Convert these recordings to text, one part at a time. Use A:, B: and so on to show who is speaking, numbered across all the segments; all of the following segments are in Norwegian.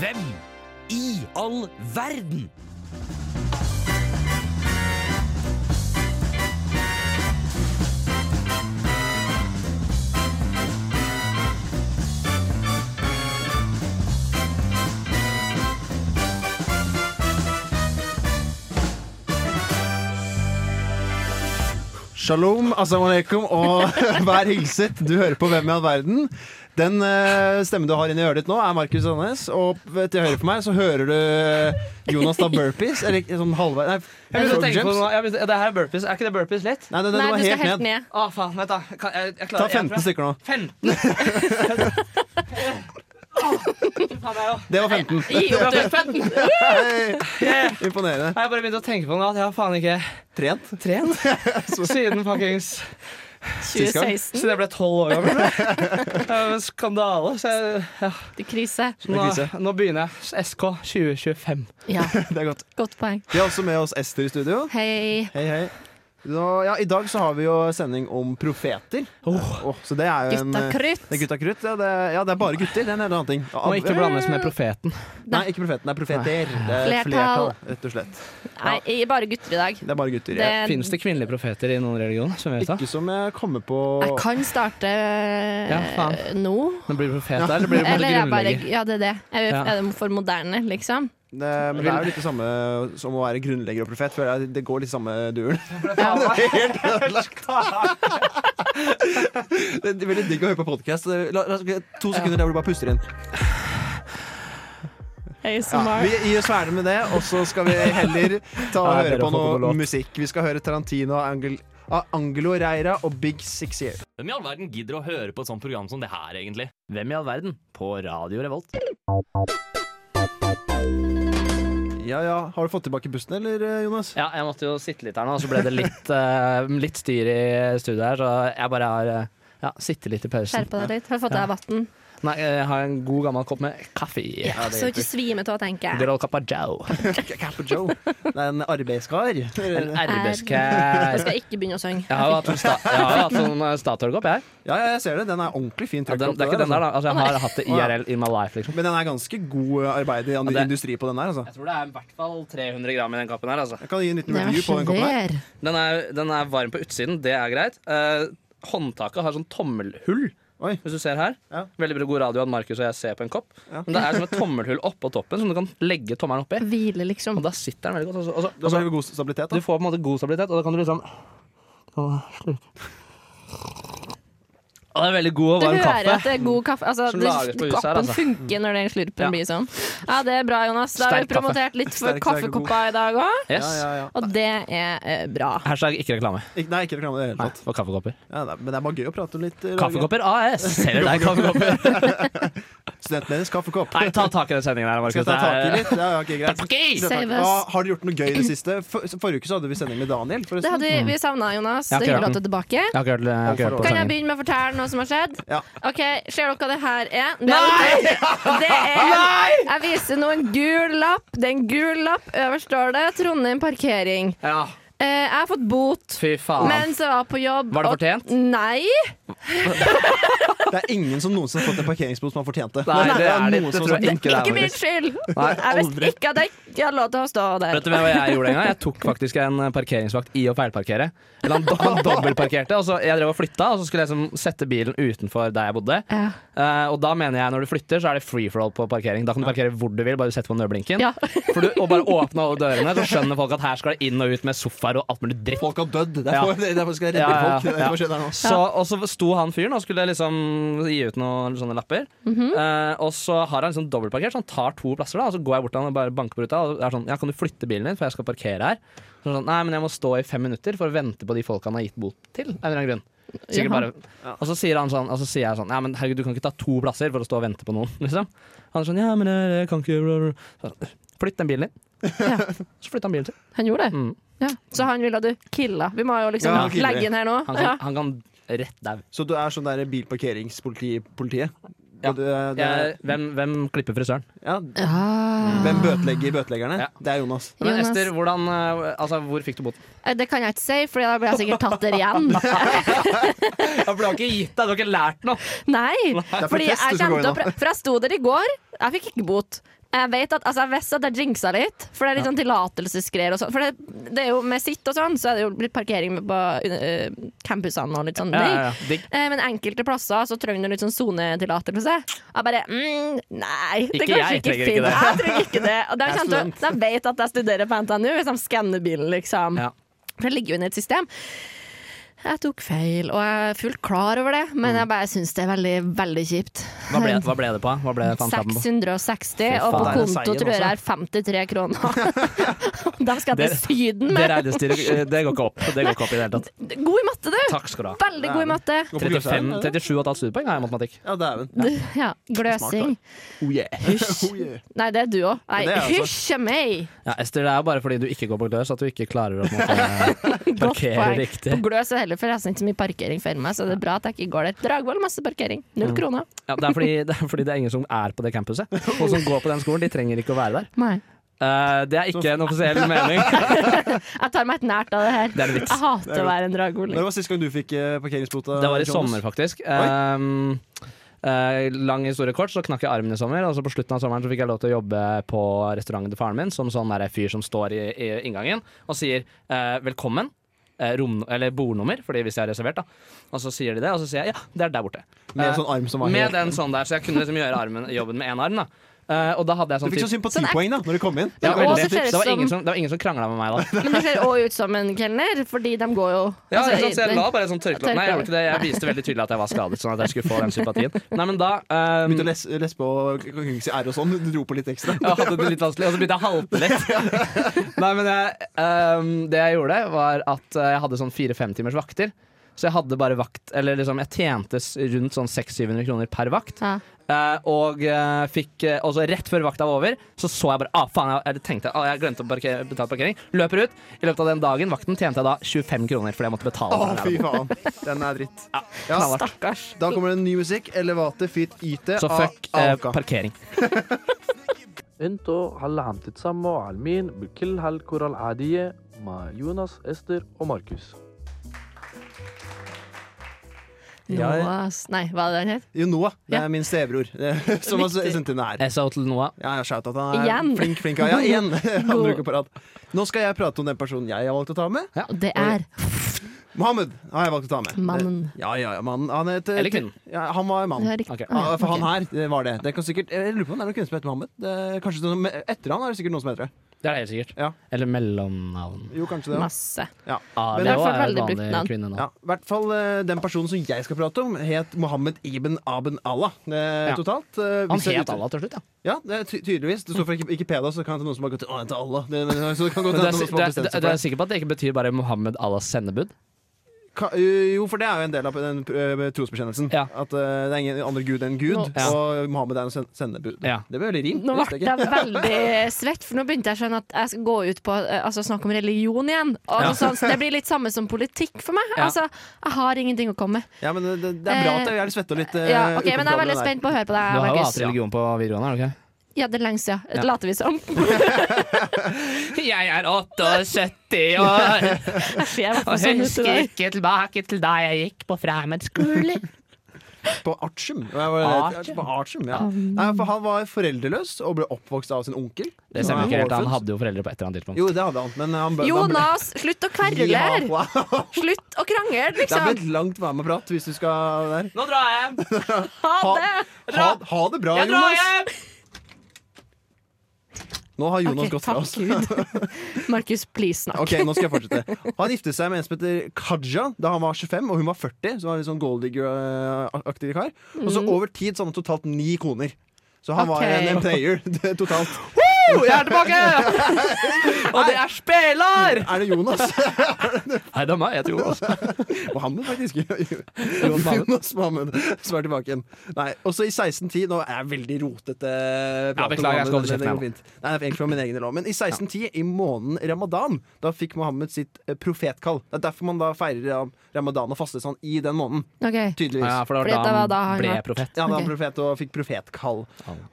A: Hvem i all verden?
B: Shalom, assalamu alaikum og vær hilset. Du hører på Hvem i all verden. Den eh, stemmen du har inni øret ditt nå, er Markus Sandnes. Og til høyre for meg så hører du Jonas da burpees. Eller sånn halvveis Nei,
C: Jeg begynte å
B: frog
C: tenke på
B: jumps.
C: noe. Jeg begynte, det her er burpees. Er ikke det burpees lett?
B: Nei, den, den,
D: Nei,
B: var
D: du skal
B: helt,
D: helt
B: ned.
D: ned.
C: Å, faen. Vent, da. Kan, jeg, jeg
B: Ta
C: klarer
B: 15 stykker nå.
C: 15.
B: Det var 15.
D: Gi opp, du.
B: Hei. Imponerende.
C: Jeg bare begynte å tenke på noe at jeg har faen ikke
B: Trent.
C: trent siden fuckings
B: Sist gang.
D: 2016.
C: Siden jeg ble 12 år gammel. Det er jo en skandale. Så jeg, ja,
D: Du krise.
C: nå,
B: krise.
C: nå begynner jeg. SK 2025.
D: Ja,
B: Det er godt.
D: godt poeng.
B: Vi har også med oss Ester i studio.
D: Hei.
B: Hei, hei. Nå, ja, I dag så har vi jo sending om profeter. Åh, så det er jo en eh,
D: Gutta krutt.
B: Det er gutta krutt. Ja, det, ja, det er bare gutter. Det er en helt annen ting. Ja,
C: Må
B: alle-
C: ikke blandes med profeten.
B: Nei, ikke profeten. Det er profeter. Det er
D: Flertall.
B: flertall, rett og slett.
D: Nei, jeg er bare gutter i dag.
B: Det er bare gutter.
D: Det,
C: Fins det kvinnelige profeter i noen religion? Som vi vet av?
B: Ikke som jeg kommer på
D: jeg kan starte eh,
C: faen.
D: nå.
C: Men blir du profet da, eller blir du på en
D: Eller
C: måte
D: jeg bare
C: grunnlegger?
D: Ja, det er det. Jeg
C: Ja.
D: er det for moderne, liksom?
B: det, Men det er jo litt det samme som å være grunnlegger og profet. Føler jeg det går litt samme duren.
C: Ja.
B: Det er helt ødelagt. Det er veldig digg å høre på podkast. To sekunder der hvor du bare puster inn. Ja, vi gir oss ferdig med det, og så skal vi heller ta og
C: Ja, jeg
B: høre
C: ber
B: på
C: om å få
B: noe
C: lov.
B: musikk. Vi skal høre Tarantino og Angel, ah, Angelo Reira og Big Six Year.
E: Hvem i all verden gidder å høre på et sånt program som det her, egentlig? Hvem i all verden? På Radio Revolt.
B: Ja, ja. Har du fått tilbake bussen, eller, eh, Jonas?
C: Ja, jeg måtte jo sitte litt her nå, og så ble det litt, eh, litt styr i studio her, så jeg bare har eh, ja, sittet litt i pausen.
D: Skjerpa deg litt. Har du fått deg vann?
C: Nei, jeg har en god gammel kopp med kaffe. i.
D: Ja, så ikke svime av, tenker
C: Good
D: jeg.
C: old Capajao.
B: Capper Joe. Det er en arbeidskar.
C: En
D: Jeg
C: arbeidskær.
D: skal ikke begynne å synge.
C: Jeg har jo hatt en sta- jeg har jo hatt sånn eh, Statoil-kopp, jeg.
B: Ja, ja, jeg ser det. Den er ordentlig fin.
C: Ja,
B: trøkk
C: den,
B: opp
C: det er ikke den der, da. Altså, jeg har hatt det
B: Å, ja.
C: IRL in my life, liksom.
B: Men den er ganske god eh, arbeid i an-
C: Ja, det-
B: industri på den der, altså.
C: Jeg tror det er i hvert fall 300 gram i den kappen her, altså.
B: Jeg kan gi en liten
D: Det
B: review på den koppen her.
D: svær.
C: Den er, den er varm på utsiden, det er greit. Eh, håndtaket har sånn tommelhull.
B: Oi.
C: Hvis du ser her.
B: Ja.
C: Veldig bra god radio at Markus og jeg ser på en kopp.
B: Ja.
C: Men det er som et tommelhull oppå toppen som du kan legge tommelen oppi.
D: Hvile, liksom.
C: Og da sitter den veldig godt. Og så, og så,
B: Da
C: og så,
B: blir det god stabilitet,
C: Altså- du
B: da.
C: får på en måte god stabilitet, og da kan du liksom Og det er veldig god og
D: Du
C: varm
D: hører
C: kaffe.
D: at det er god kaffe. Altså,
C: Som
D: det,
C: lages på huset her,
D: koppen
C: altså.
D: funker når den slurpen
C: Ja.
D: blir sånn. Ja, det er bra, Jonas. Da har vi
C: Sterk kaffe.
D: promotert litt for
B: Sterk, sterk og god.
D: kaffekoppa i dag òg,
C: Yes.
B: Ja, ja, ja.
D: og det er eh, bra.
C: Hashtag ikke reklame.
B: Ik nei, ikke reklame i det hele
C: Nei,
B: tatt.
C: for kaffekopper.
B: Ja, det er- men det er bare gøy å prate om litt. eh,
C: Kaffekopper AS! Selger deg kaffekopper.
B: Studentmedisk kaffekopp.
C: Nei, ta tak i den sendingen her,
B: Skal
C: Markus.
B: jeg ta tak i litt? Ja, ja, ok, greit.
C: Det er-
D: Save us.
B: Ah, har du gjort noe gøy i det siste? For, forrige uke så hadde vi sending med Daniel.
D: Det
B: forresten.
D: hadde
C: Mm.
D: vi, vi savna, Jonas.
C: Jeg har
D: Det
C: ikke
D: er
C: hørt
D: hyggelig at du er tilbake.
C: Jeg har ikke hørt, jeg har ikke hørt på
D: Kan jeg
C: sendingen.
D: begynne med å fortelle noe som har skjedd?
B: Ja.
D: Ok, Ser dere hva det her er? Det er, det er Jeg viser nå en gul lapp. Det er en gul lapp. Øverst står det Trondheim parkering.
C: Ja,
D: Eh, jeg har fått bot
C: fy faen.
D: mens jeg var på jobb.
C: Var det
D: og-
C: fortjent?
D: Nei.
B: Det er ingen som noensinne har fått en parkeringsbot som har fortjent det.
C: Nei, det er det.
B: noen
C: Det
B: som
C: tror
B: har sagt
C: jeg ikke det
D: Ikke
C: er.
D: min
C: Markus.
D: skyld.
C: Nei,
D: Jeg visste
C: aldri.
D: ikke at jeg ikke hadde lov til å stå der.
C: Vet du hva jeg gjorde en gang? Jeg tok faktisk en parkeringsvakt i å feilparkere. Eller han, do han dobbeltparkerte. Og så jeg drev og flytta, og så skulle jeg liksom sette bilen utenfor der jeg bodde.
D: Ja.
C: Eh, og da mener jeg når du flytter, så er det free for all på parkering. Da kan du parkere hvor du vil, bare du setter på nødblinken.
D: Ja.
C: For du, og bare åpne alle dørene, så skjønner folk at her skal det inn og ut med sofaer og alt mulig dritt.
B: Folk har dødd. Det
C: Ja.
B: er for- det er derfor vi skal redde
C: Ja, ja,
B: folk. Det er
C: ja.
B: derfor skjer det her nå.
C: Så, og så sto han fyren og skulle liksom gi ut noen sånne lapper. Eh, og så har han liksom dobbeltparkert, så han tar to plasser. da Og så går jeg bort til han og bare banker på ruta og er sånn Ja, kan du flytte bilen din, for jeg skal parkere her? Så er han sånn, Nei, men jeg må stå i fem minutter for å vente på de folka han har gitt bot til. Av en eller annen grunn. Sikkert
D: Jaha.
C: bare Og så sier han sånn, og så sier jeg sånn Ja, men herregud, du kan ikke ta to plasser for å stå og vente på noen, liksom. Han er sånn Ja, men jeg, jeg kan ikke bla, bla, bla. Så, sånn, «Øh, Flytt den bilen din.
D: Ja.
C: Så flytter han bilen sin.
D: Han gjorde det.
C: Mm.
D: Ja. Så han ville at du killa. Vi må jo liksom
B: Ja, han killer.
D: legge inn her nå.
C: Han kan,
D: Ja.
C: han kan rett dau.
B: Så du er sånn der bilparkeringspolitiet?
C: Ja.
B: Og det- det er-
C: Jeg, Eh, hvem, hvem klipper frisøren?
B: ja,
D: Ah.
B: hvem bøtelegger bøteleggerne?
C: Ja.
B: Det er Jonas.
C: Men
D: Jonas.
C: Ester, hvordan, eh, altså, hvor fikk du boten?
D: Eh, Det kan jeg ikke si, for da blir jeg sikkert tatt der igjen.
C: Ja, for du har ikke gitt deg, du har ikke lært noe.
D: Nei,
B: er
D: fordi jeg
B: protest du skal gå
D: kommer til å
B: gjennom.
D: pre- For jeg sto der i går, jeg fikk ikke bot. Jeg vet at, altså jeg visste at jeg jinxa litt, for det er litt sånn tillatelsesgreier og sånn. For det, det er jo med sitt og sånn, så er det jo litt parkering på eh, campusene og litt sånn.
C: Ja,
D: Nei.
C: ja, ja. Digg.
D: Eh, Men enkelte plasser så trenger du litt sånn sonetillatelse. Jeg bare mm, Nei, det er
C: Ikke jeg
D: kanskje ikke
C: trenger
D: fint.
C: ikke det.
D: Jeg trenger ikke det. Og de,
B: Jeg er
D: kommer til å- de vet at jeg studerer på NTNU, hvis de skanner bilen, liksom.
C: Ja.
D: For det ligger jo inne i et system. Jeg tok feil, og jeg er fullt klar over det, men jeg bare syns det er veldig, veldig kjipt.
C: Hva Mm. ble, hva ble det på? Hva ble fantapen på?
D: 660,
C: Fy
D: og på
C: faen.
B: Det er
D: konto
B: seien
D: tror jeg det er 53 kroner. de skal
C: Dere-
D: til Syden
C: Det
D: med
C: regnestyret eh, det går ikke opp. Det går ikke opp i det hele tatt.
D: God i matte, du!
C: Takk skal du ha.
D: Veldig god i matte.
B: Gå på
C: 35,
B: Gløshaugen, er det?
C: 37,5 studiepoeng har jeg i matematikk.
B: Ja, dæven.
D: Ja, gløsing.
C: Oh yeah.
B: Oh, yeah.
D: Nei, det er du òg. Nei,
B: Ja, det er jeg
D: hysje meg!
C: Ja, Ester, det er jo bare fordi du ikke går på gløs at du ikke klarer å på en måte,
D: Godt
C: parkere
D: poeng. På
C: riktig.
D: Gløs er heller, for jeg har ikke så mye parkering for meg, så det er bra at jeg ikke går der. Dragvoll, masse parkering.
C: Mm.
D: Null kroner.
C: Ja, det, er fordi, det er fordi det er ingen som er på det campuset. Og som går på den skolen, de trenger ikke å være der.
D: Nei.
C: Eh, det er ikke en offisiell mening.
D: Jeg tar meg et nært av det her.
C: Det er en vits.
D: Jeg hater å være en dragvoll.
B: Når var sist gang du fikk eh, parkeringsbota?
C: Det var i
B: Jonas?
C: sommer, faktisk. Um, eh, lang historie kort, så knakk jeg armen i sommer. Og så på slutten av sommeren så fikk jeg lov til å jobbe på restauranten til faren min som sånn der fyr som står i, i inngangen og sier eh, 'velkommen'. eh, Rom, eller bordnummer, Fordi hvis jeg har reservert. da Og så sier de det, og så sier jeg ja, det er der borte.
B: Med
C: Eh,
B: en sånn arm som var
C: med
B: helt
C: den sånn der, så jeg kunne liksom gjøre armen, jobben med én arm. da Eh, Og da hadde jeg
B: Du
C: sånn
B: fikk
C: typ-
B: sånn sympatipoeng da når du kom inn.
C: ja,
D: Og
C: veldig.
D: så ser det
C: det, var
D: som-
C: ingen som, det var ingen som krangla med meg da.
D: Men det ser òg ut som en kelner, fordi de går jo
C: Ja,
D: altså,
C: ikke sant, så jeg
D: i-
C: la bare et sånt tørkle opp. Nei, jeg gjorde ikke det. Jeg
D: Nei.
C: viste veldig tydelig at jeg var skadet, sånn at jeg skulle få den sympatien. Nei, men da ehm,
B: Begynte å les- lespe og kan ikke si R og sånn. Du dro på litt ekstra.
C: jeg hadde det litt vanskelig, og så begynte jeg å halte litt. Nei, men jeg, ehm, det jeg gjorde, var at eh, jeg hadde sånn fire-fem timers vakter. Så jeg hadde bare vakt Eller liksom, jeg tjente s- rundt sånn 600-700 kroner per vakt.
D: Ja.
C: Eh, og eh, fikk eh, Og så rett før vakta var over, så så jeg bare Ah, faen, jeg, jeg tenkte ah, Jeg glemte å parkere, betale parkering. Løper ut. I løpet av den dagen, vakten, tjente jeg da 25 kroner fordi jeg måtte betale.
B: Å,
C: for den
B: fy
C: her.
B: faen. Den er dritt. Ja,
C: Knallhardt.
D: Stakkars.
B: Da kommer det ny musikk. Elevate fit IT
C: Så
B: av
C: fuck eh,
B: Alka.
C: parkering.
F: انتوا هلا عم تتسمعوا على المين بكل هالكرة العادية مع يونس استر وماركوس
B: Jeg-
D: Noas Nei, hva er det den het?
B: Jo, Noah. Det
D: Ja.
B: er min stebror. eh, Som har
D: Riktig.
B: sendt inn det her.
C: SO til Noah.
B: Ja, jeg har shoutet at han er
D: Igjen.
B: flink, flink. Ja, igjen. Andre
D: God.
B: uke på rad. Nå skal jeg prate om den personen jeg har valgt å ta med.
D: Og det er
B: Mohammed har jeg valgt å ta med.
D: Mannen.
B: Ja, ja, ja, mannen. Han heter,
C: Eller kvinnen.
B: Ja, han var mann.
D: det er riktig. Ah,
C: Ok.
B: Ja, for
D: Ok.
B: han her det var det. det kan sikkert, jeg lurer på om det er noen kvinner som heter Mohammed. Det er kanskje noen, etter han er det sikkert noen som heter det.
C: Det er det helt sikkert.
B: Ja.
C: Eller mellomnavn.
B: Jo, kanskje det.
D: Masse.
B: Ja.
C: Ah,
B: Men
C: det
B: i
D: hvert fall
C: var
D: veldig
C: en
D: brukt
C: vanlig
D: navn.
C: kvinne nå.
B: Ja, i hvert fall eh, Den personen som jeg skal prate om, het Mohammed Ibn Aben Allah eh,
C: Ja.
B: totalt. Eh,
C: Han
B: hvis jeg
C: het
B: ut-
C: Allah til slutt, ja.
B: Ja, det er ty tydeligvis. Det står fra Wikipedia, så kan det hende noen som har gått til Å, han heter Allah. Det, men, så kan det godt
C: Men du
B: hende
C: er,
B: noen
C: si-
B: som
C: du,
B: har
C: er,
B: bestemt seg
C: du
B: for
C: er sikker på at det ikke betyr bare Mohammed Allahs sendebud?
B: Ka jo, for det er jo en del av den eh, trosbekjennelsen.
C: Ja.
B: At eh, det er ingen andre gud enn Gud,
D: Nå-
C: Ja.
B: og Mohammed er en sen- sendebud.
C: Ja.
B: Det ble veldig rim.
D: Nå ble jeg veldig svett, for nå begynte jeg å skjønne at jeg skal gå ut på eh, altså, snakke om religion igjen. Og
C: Ja.
D: sånn, så det blir litt samme som politikk for meg.
C: Ja.
D: Altså, jeg har ingenting å komme med.
B: Ja, men det, det det er bra at jeg er litt svette og litt eh,
D: Ja, ok, men jeg er
B: ukomfortabel
D: veldig
B: der.
D: spent på å høre på
C: Du har jo
D: deg,
C: hatt religion på videregående, har du ikke?
D: Markus. Ja, det er lenge siden.
C: Ja.
D: Later vi som.
C: Jeg er 78 år
D: Jeg ser i hvert fall sånn ut i dag.
C: ikke tilbake til da jeg gikk på fremmedskole.
B: På Artium. Jeg var-
C: Artium? Um.
B: På Artium, ja. Nei, for han var foreldreløs og ble oppvokst av sin onkel.
C: Det stemmer
B: Han er
C: ikke helt. Han
B: hårfull.
C: hadde jo foreldre på et eller annet tidspunkt.
B: Jo, det hadde han, men han, bø- han ble
D: Jonas, slutt å kverle!
B: Ja, wow.
D: Slutt å krangle,
B: Det er
D: liksom!
B: blitt langt være med prat hvis du skal der.
C: Nå drar jeg!
D: Ha
B: Ha,
D: det!
B: ha, ha det bra, Jonas! Nå har Jonas
D: Ok,
B: gått fra
D: takk
B: oss.
D: Gud. Markus, please, snakk.
B: Ok, nå skal jeg fortsette Han giftet seg med en som heter Kaja da han var 25, og hun var 40. Så han var litt sånn golddigger-aktig kar. Og så over tid så hadde han totalt ni koner. Så han var
D: Mm. Ok.
B: en, en player totalt.
C: Woo! Jeg er tilbake! Og det er spelar!
B: Er det Jonas?
C: Nei, det er meg. Jeg heter Jonas.
B: Mohammed, faktisk. Jonas Mohammed som er tilbake igjen. Nei, også i 1610 Nå er jeg veldig rotete. prat om
C: beklager, jeg skal
B: Mohammed, det
C: holde kjeften
B: går
C: her nå.
B: fint. Nei, det er egentlig for min egen del også. Men i 1610, i måneden ramadan, da fikk Mohammed sitt eh, profetkall. Det er derfor man da feirer ram- ramadan og faster sånn i den måneden.
D: Ok.
B: Tydeligvis.
C: Ja, for det
D: Fordi det
C: var da
D: var
C: han
D: da han
C: ble
D: var-
C: profet.
B: Ja, han var
D: Ok.
B: profet og fikk profetkall.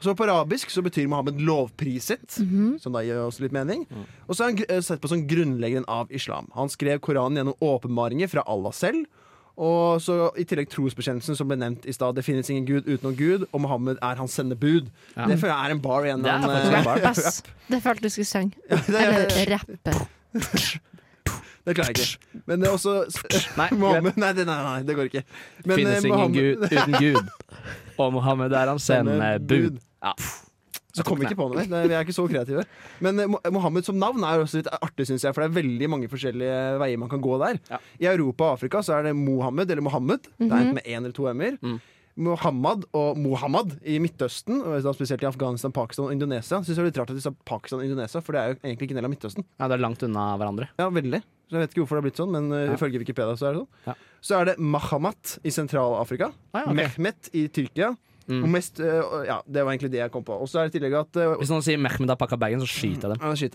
B: Så på arabisk så betyr Mohammed lovpriset, som da gir oss litt mening.
C: Mm.
B: Og så er han gr- eh, sett på som grunnleggeren av islam. Han skrev Koranen gjennom åpenbaringer fra Allah selv. Og så I tillegg trosbekjennelsen som ble nevnt i stad. Det finnes ingen gud utenom Gud, og Mohammed er hans sendebud. Det føler jeg er en bar igjen.
C: Det er
B: men,
C: faktisk
B: eh,
C: en bar.
D: Rapp, ass. Det følte du skulle synge.
B: det,
D: Eller
B: det,
D: rappe.
B: klarer jeg ikke. Men det er også
C: Nei,
B: Mohammed, nei, det- nei, nei, det går ikke. Men, eh,
C: Finnes ingen
B: Mohammed-
C: gud uten Gud. Og Mohammed er hans sendebud. Ja.
B: Så kom vi ikke på noe mer. Nei, Vi er ikke så kreative. Men eh, Mo- Mohammed som navn er også litt artig, synes jeg. For det er veldig mange forskjellige veier man kan gå der.
C: Ja. Mhm.
B: I Europa og Afrika så er det Mohammed eller Mohammed. Det er enten med én eller to m-er.
C: Mm.
B: Mohammad og Mohammad i Midtøsten, og da spesielt i Afghanistan, Pakistan og Indonesia. Synes jeg det er litt rart at de sa Pakistan og Indonesia, for det er jo egentlig ikke en del av Midtøsten.
C: ja, det er langt unna hverandre.
B: Ja, veldig. Så jeg vet ikke hvorfor det har blitt sånn, men eh, ifølge Wikipedia så er det sånn.
C: Ja.
B: Så er det Mahamat i Sentral-Afrika.
C: Ah, ja, ok. Mm.
B: Mehmet i Tyrkia. Og mest, eh, ja, det var egentlig det jeg kom på. Og så er det i tillegg at eh,
C: Hvis noen sier Mehmed har pakka bagen, så skyter jeg dem.
B: ja, skyt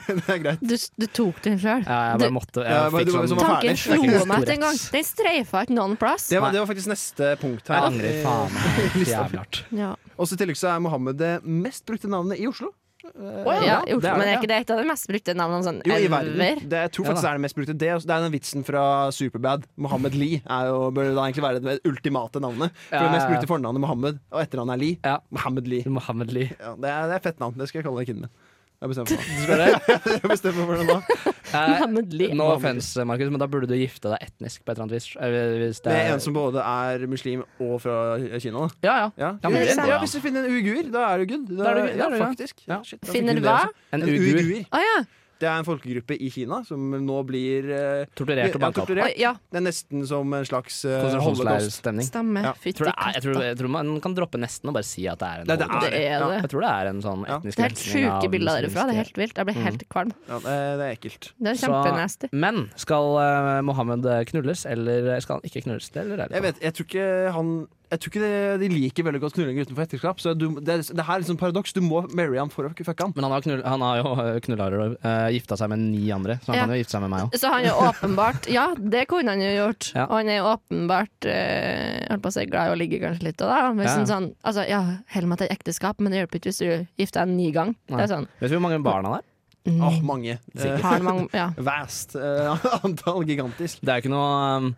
B: dem. det er greit.
D: Du, du tok den sjøl.
C: Ja, jeg bare måtte
B: Ja,
C: jeg
B: men liksom-
C: fikk
B: det var jo
C: sånn
B: som var
D: Tanken
B: ferdig.
D: slo
C: Det er ikke
D: meg
C: stor
D: ikke engang.
C: rett.
D: Den streifa ikke noen plass.
B: Det var, det var faktisk neste punkt
C: Jeg
B: her.
C: angrer faen meg jævlig hardt.
D: Ja.
B: Og så I tillegg så er Mohammed det mest brukte navnet i Oslo.
D: Ja,
C: det er
D: jo,
C: det,
D: men er
C: ja.
D: ikke det et av de mest brukte navnene sånn
B: Jo, i verden.
D: ever?
B: Det, jeg tror
C: Ja,
B: faktisk
C: da.
B: det er det mest brukte. Det, er også- det er den vitsen fra Superbad. Mohammed Lee er jo, bør jo da egentlig være det ultimate navnet. For
C: Ja,
B: det
C: ja,
B: mest
C: ja.
B: brukte fornavnet er Mohammed, og etternavnet er Lee.
C: Ja.
B: Mohammed Lee.
C: Mohammed Lee.
B: Ja, det, er, det er fett navn. Det skal jeg kalle kiden min. Jeg bestemmer meg.
C: Skal det?
B: Jeg bestemmer meg for det nå.
C: Eh,
D: Mohammed Lee.
C: no offense, Markus, men da burde du gifte deg etnisk på et eller annet vis. Eh, Hvis det
B: Det er
C: er,
B: en som både er muslim og fra Kina. Da.
C: ja, ja.
B: Ja.
C: Ja, men
D: det er sant.
B: ja, hvis du finner en uigur, da er du good. Da,
C: Da er du good,
B: ja,
C: da er du- ja.
B: faktisk.
C: Ja.
B: Shit, da fikk
D: Finner
B: hun det
D: hva?
B: også.
C: En
B: En
C: uigur.
B: uigur.
D: Å ja.
B: Det er en folkegruppe i Kina som nå blir eh,
C: Torturert
B: ja,
C: og banka opp.
B: torturert.
D: Oi, ja.
B: Det er nesten som en slags eh, holocaust.
C: Konsentrasjonsleirstemning.
D: Stemmer.
B: Ja,
D: Fytti
C: Tror det er- Jeg, tror-
D: katta.
C: jeg tror man kan droppe nesten og bare si at det er en
B: Nei, det er
C: holocaust.
D: Det er det.
C: Jeg tror det er en sånn
B: Ja.
C: etnisk
D: Det er helt
C: rensning av
D: sjuke bilder derfra. Det er
C: muslimske-
D: helt vilt. Jeg blir helt kvalm.
B: Ja, det, er- det er ekkelt.
D: Det er
C: Mm. Så-
D: kjempenasty.
C: Men skal eh, Mohammed knulles, eller skal han ikke knulles? Det lurer jeg litt
B: Jeg,
C: på.
B: vet, jeg tror ikke han Jeg tror ikke det, de liker veldig godt knulling utenfor ekteskap. Så du, det, er, det her er liksom paradoks. Du må marry han for å fucke han.
C: Men han har, knull, han har jo knullarer og eh, gifta seg med ni andre, så han
D: Ja.
C: kan jo gifte seg med meg òg.
D: Så han er åpenbart Ja, det kunne han jo gjort.
C: Ja.
D: Og han er jo åpenbart eh, jeg holdt på å si glad i å ligge kanskje litt. Og da, hvis
C: Ja.
D: han sånn, altså, ja, heller meg til et ekteskap, men det hjelper ikke hvis du gifter deg ni ganger. Det
C: Nei.
D: er sånn.
C: Vet du hvor mange barn han har?
D: Mm,
B: Åh, mange. Eh,
D: har han mange, ja.
B: vast eh, antall. Gigantisk.
C: Det er jo ikke noe um,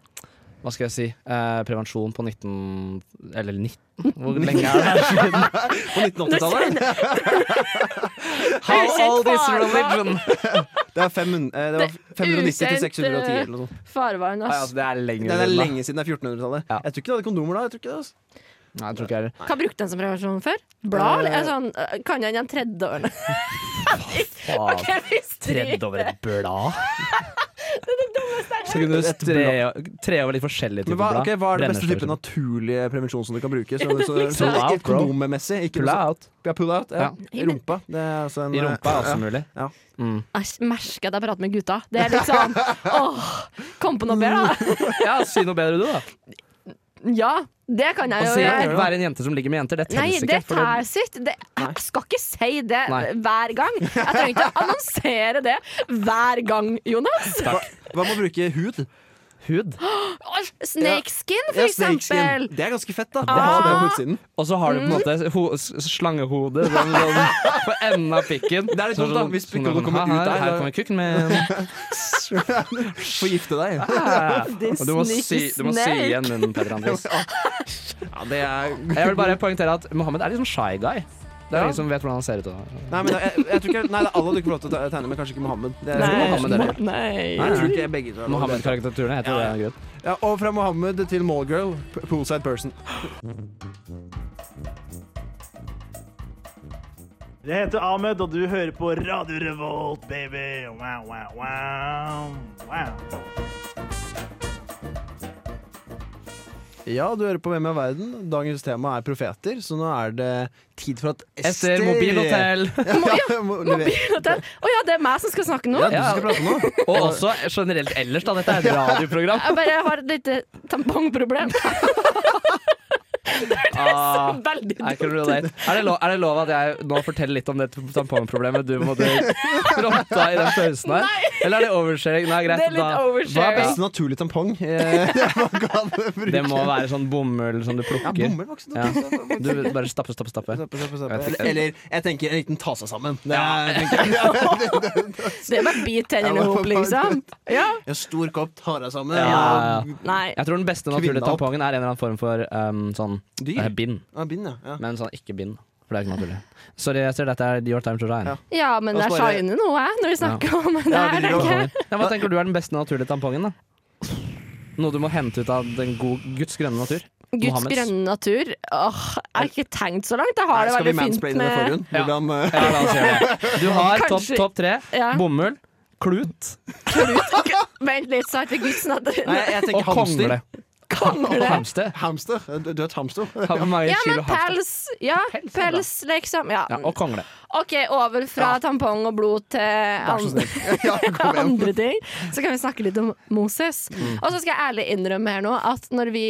C: hva skal jeg si eh, prevensjon på 19 Eller 19? Hvor lenge er det?
B: På 1980-tallet.
C: How old is
D: farbar.
C: religion?
B: Det er 500, eh, det var 590 til
D: ukjent,
B: 610
D: eh,
B: eller noe sånt.
D: Farvann,
C: Nei, altså,
D: ass.
C: det er
B: Nei,
C: lenge
B: det er
C: siden, da.
B: lenge siden. Det er 1400-tallet.
C: Ja.
B: Jeg tror ikke de hadde kondomer da. Jeg tror ikke det, altså.
C: Nei, jeg tror ikke jeg er
D: Hva brukte han som prevensjon før? Blad?
B: Eh.
D: eller sånn, eh, kan han den tredje årene?
C: Faen,
D: Ok, vi stryker.
C: Tredd over et blad? Så kunne du stre, tre over litt forskjellige
B: Men
C: typer
B: hva,
C: blad.
B: ok, hva er det beste
C: Brennesle,
B: type
C: for eksempel.
B: naturlige prevensjon som du kan bruke? Så, så, så,
C: Pull out,
B: ikke
C: bro.
B: kondommessig. Ikke
C: Pull
B: noe sånt.
C: out
B: Ja, pull out. Ja. I rumpa. Det er altså en,
C: i rumpa er også
B: ja.
C: mulig.
B: Ja.
C: Mm.
D: Jeg merker at jeg prater med gutta. Det er litt sånn åh, Kom på noe bedre, da.
C: ja, si noe bedre du, da.
D: Ja, det kan jeg
C: Og
D: jo
C: si
D: gjøre.
C: at være en jente som ligger med jenter, det
D: Nei,
C: telles
D: det
C: ikke. for det-
D: tar sitt. Det, jeg skal ikke si det
C: Nei.
D: hver gang. Jeg trenger ikke å annonsere det hver gang, Jonas.
B: Hva, hva med å bruke hud?
C: Hud.
D: Åh, Snakeskin, for
B: Ja, snake
D: eksempel.
B: skin. Det er ganske fett, da. Det
D: Ah.
B: har det på utsiden.
C: Og så har du på en
B: Mm.
C: måte ho s- slangehode sånn, sånn, på enden av pikken.
B: Det er litt dumt,
C: Sånn-
B: da, hvis
C: sånn-
B: pikken kommer
C: her-
B: ut der,
C: Her
B: da-
C: kommer kukken min.
B: Få gifte deg.
C: Og du må si, du må si
D: snake.
C: igjen munnen, Peder Andris.
B: Ja, det er
C: Jeg vil bare poengtere at Mohammed er litt sånn shy guy. Det er ingen som vet hvordan han ser ut. og-
B: Nei, men jeg, jeg tror ikke Nei, det er alle du ikke får lov til å te- tegne, men kanskje ikke Mohammed. Det er,
C: Nei.
B: Mohammed.
C: Mohammed,
D: Nei. Nei.
B: Jeg tror ikke begge to er Mohammed.
C: Mohammed-karikaturene heter
B: Ja,
C: det. Greit.
B: Ja, og fra Mohammed til Mallgirl, p- poolside person.
G: Jeg heter Ahmed, og du hører på Radio Revolt, baby. Wow, wow, wow. wow.
B: Ja, du hører på Hvem er verden? Dagens tema er profeter, så nå er det tid for at
C: Ester, mobilhotell.
B: Ja, mo- lever-
D: Mobilhotell. Å ja, det er meg som skal snakke nå?
B: ja, du skal prate nå.
C: Og også generelt ellers, da. Dette er et radioprogram.
D: Jeg bare har et lite tampongproblem.
C: Ah,
D: Veldig
C: I can relate. Er det, lov, er det lov at jeg nå forteller litt om det tampongproblemet du måtte fronta i den pausen her? Eller er det oversharing? Nei, greit.
D: Det er litt
C: da-
B: Hva er
D: oversharing.
B: best naturlig tampong? Eh, Man kan bruke
C: Det må være sånn bomull som du
B: ja,
C: plukker.
B: bommel, voksen.
C: Ja. Du bare stappe, stappe, stappe.
B: Stoppe, stoppe, stoppe.
C: Jeg vet ikke.
B: Eller, eller jeg tenker en liten ta seg sammen. Det er, tenker jeg.
D: Det er bare bit tennene ihop, liksom. Ja.
B: Ja, stor kopp, ta deg sammen.
C: Ja, ja, ja.
D: Nei.
C: Jeg tror den beste naturlige
B: Kvinna opp.
C: tampongen er en eller annen form for um, sånn
B: Dyr?
C: eh, bind.
B: Ja, bind, ja. ja.
C: Men sånn ikke bind. For det er ikke naturlig. Sorry, jeg ser dette er your time to shine.
B: Ja.
D: Ja, men
B: La
D: jeg
B: oss bare-
D: shiner nå, jeg, når vi snakker om det
B: Ja,
D: her.
B: vi gjør
D: tenker jeg.
C: Ja, hva tenker du er den beste naturlige tampongen, da? Noe du må hente ut av den gode Guds grønne natur?
D: Guds
C: Mohammeds.
D: grønne natur. Åh, jeg har ikke tenkt så langt. Jeg har det
B: Skal vi
D: veldig fint
B: mansplaine det for
D: med
B: hun? Hvordan, eh,
C: Ja, la oss gjøre det. Du har topp
D: Kanskje-
C: topp tre.
D: Ja.
C: Bomull, klut
D: Vent litt, så heter Guds natur.
B: Nei, jeg tenker
C: og
B: hamster.
C: kongle. Og hamster.
B: Hamster? Eh, Du er et hamster?
C: Hvor mange
D: Ja, men
C: kilo hamster?
D: pels. Ja,
C: Pels er bra.
D: pels, liksom. Ja.
C: Ja, og kongle.
D: OK, over fra tampong og blod til
B: så
D: andre,
B: Ja, kom igjen.
D: andre ting. Så kan vi snakke litt om Moses. Og så skal jeg ærlig innrømme her nå at når vi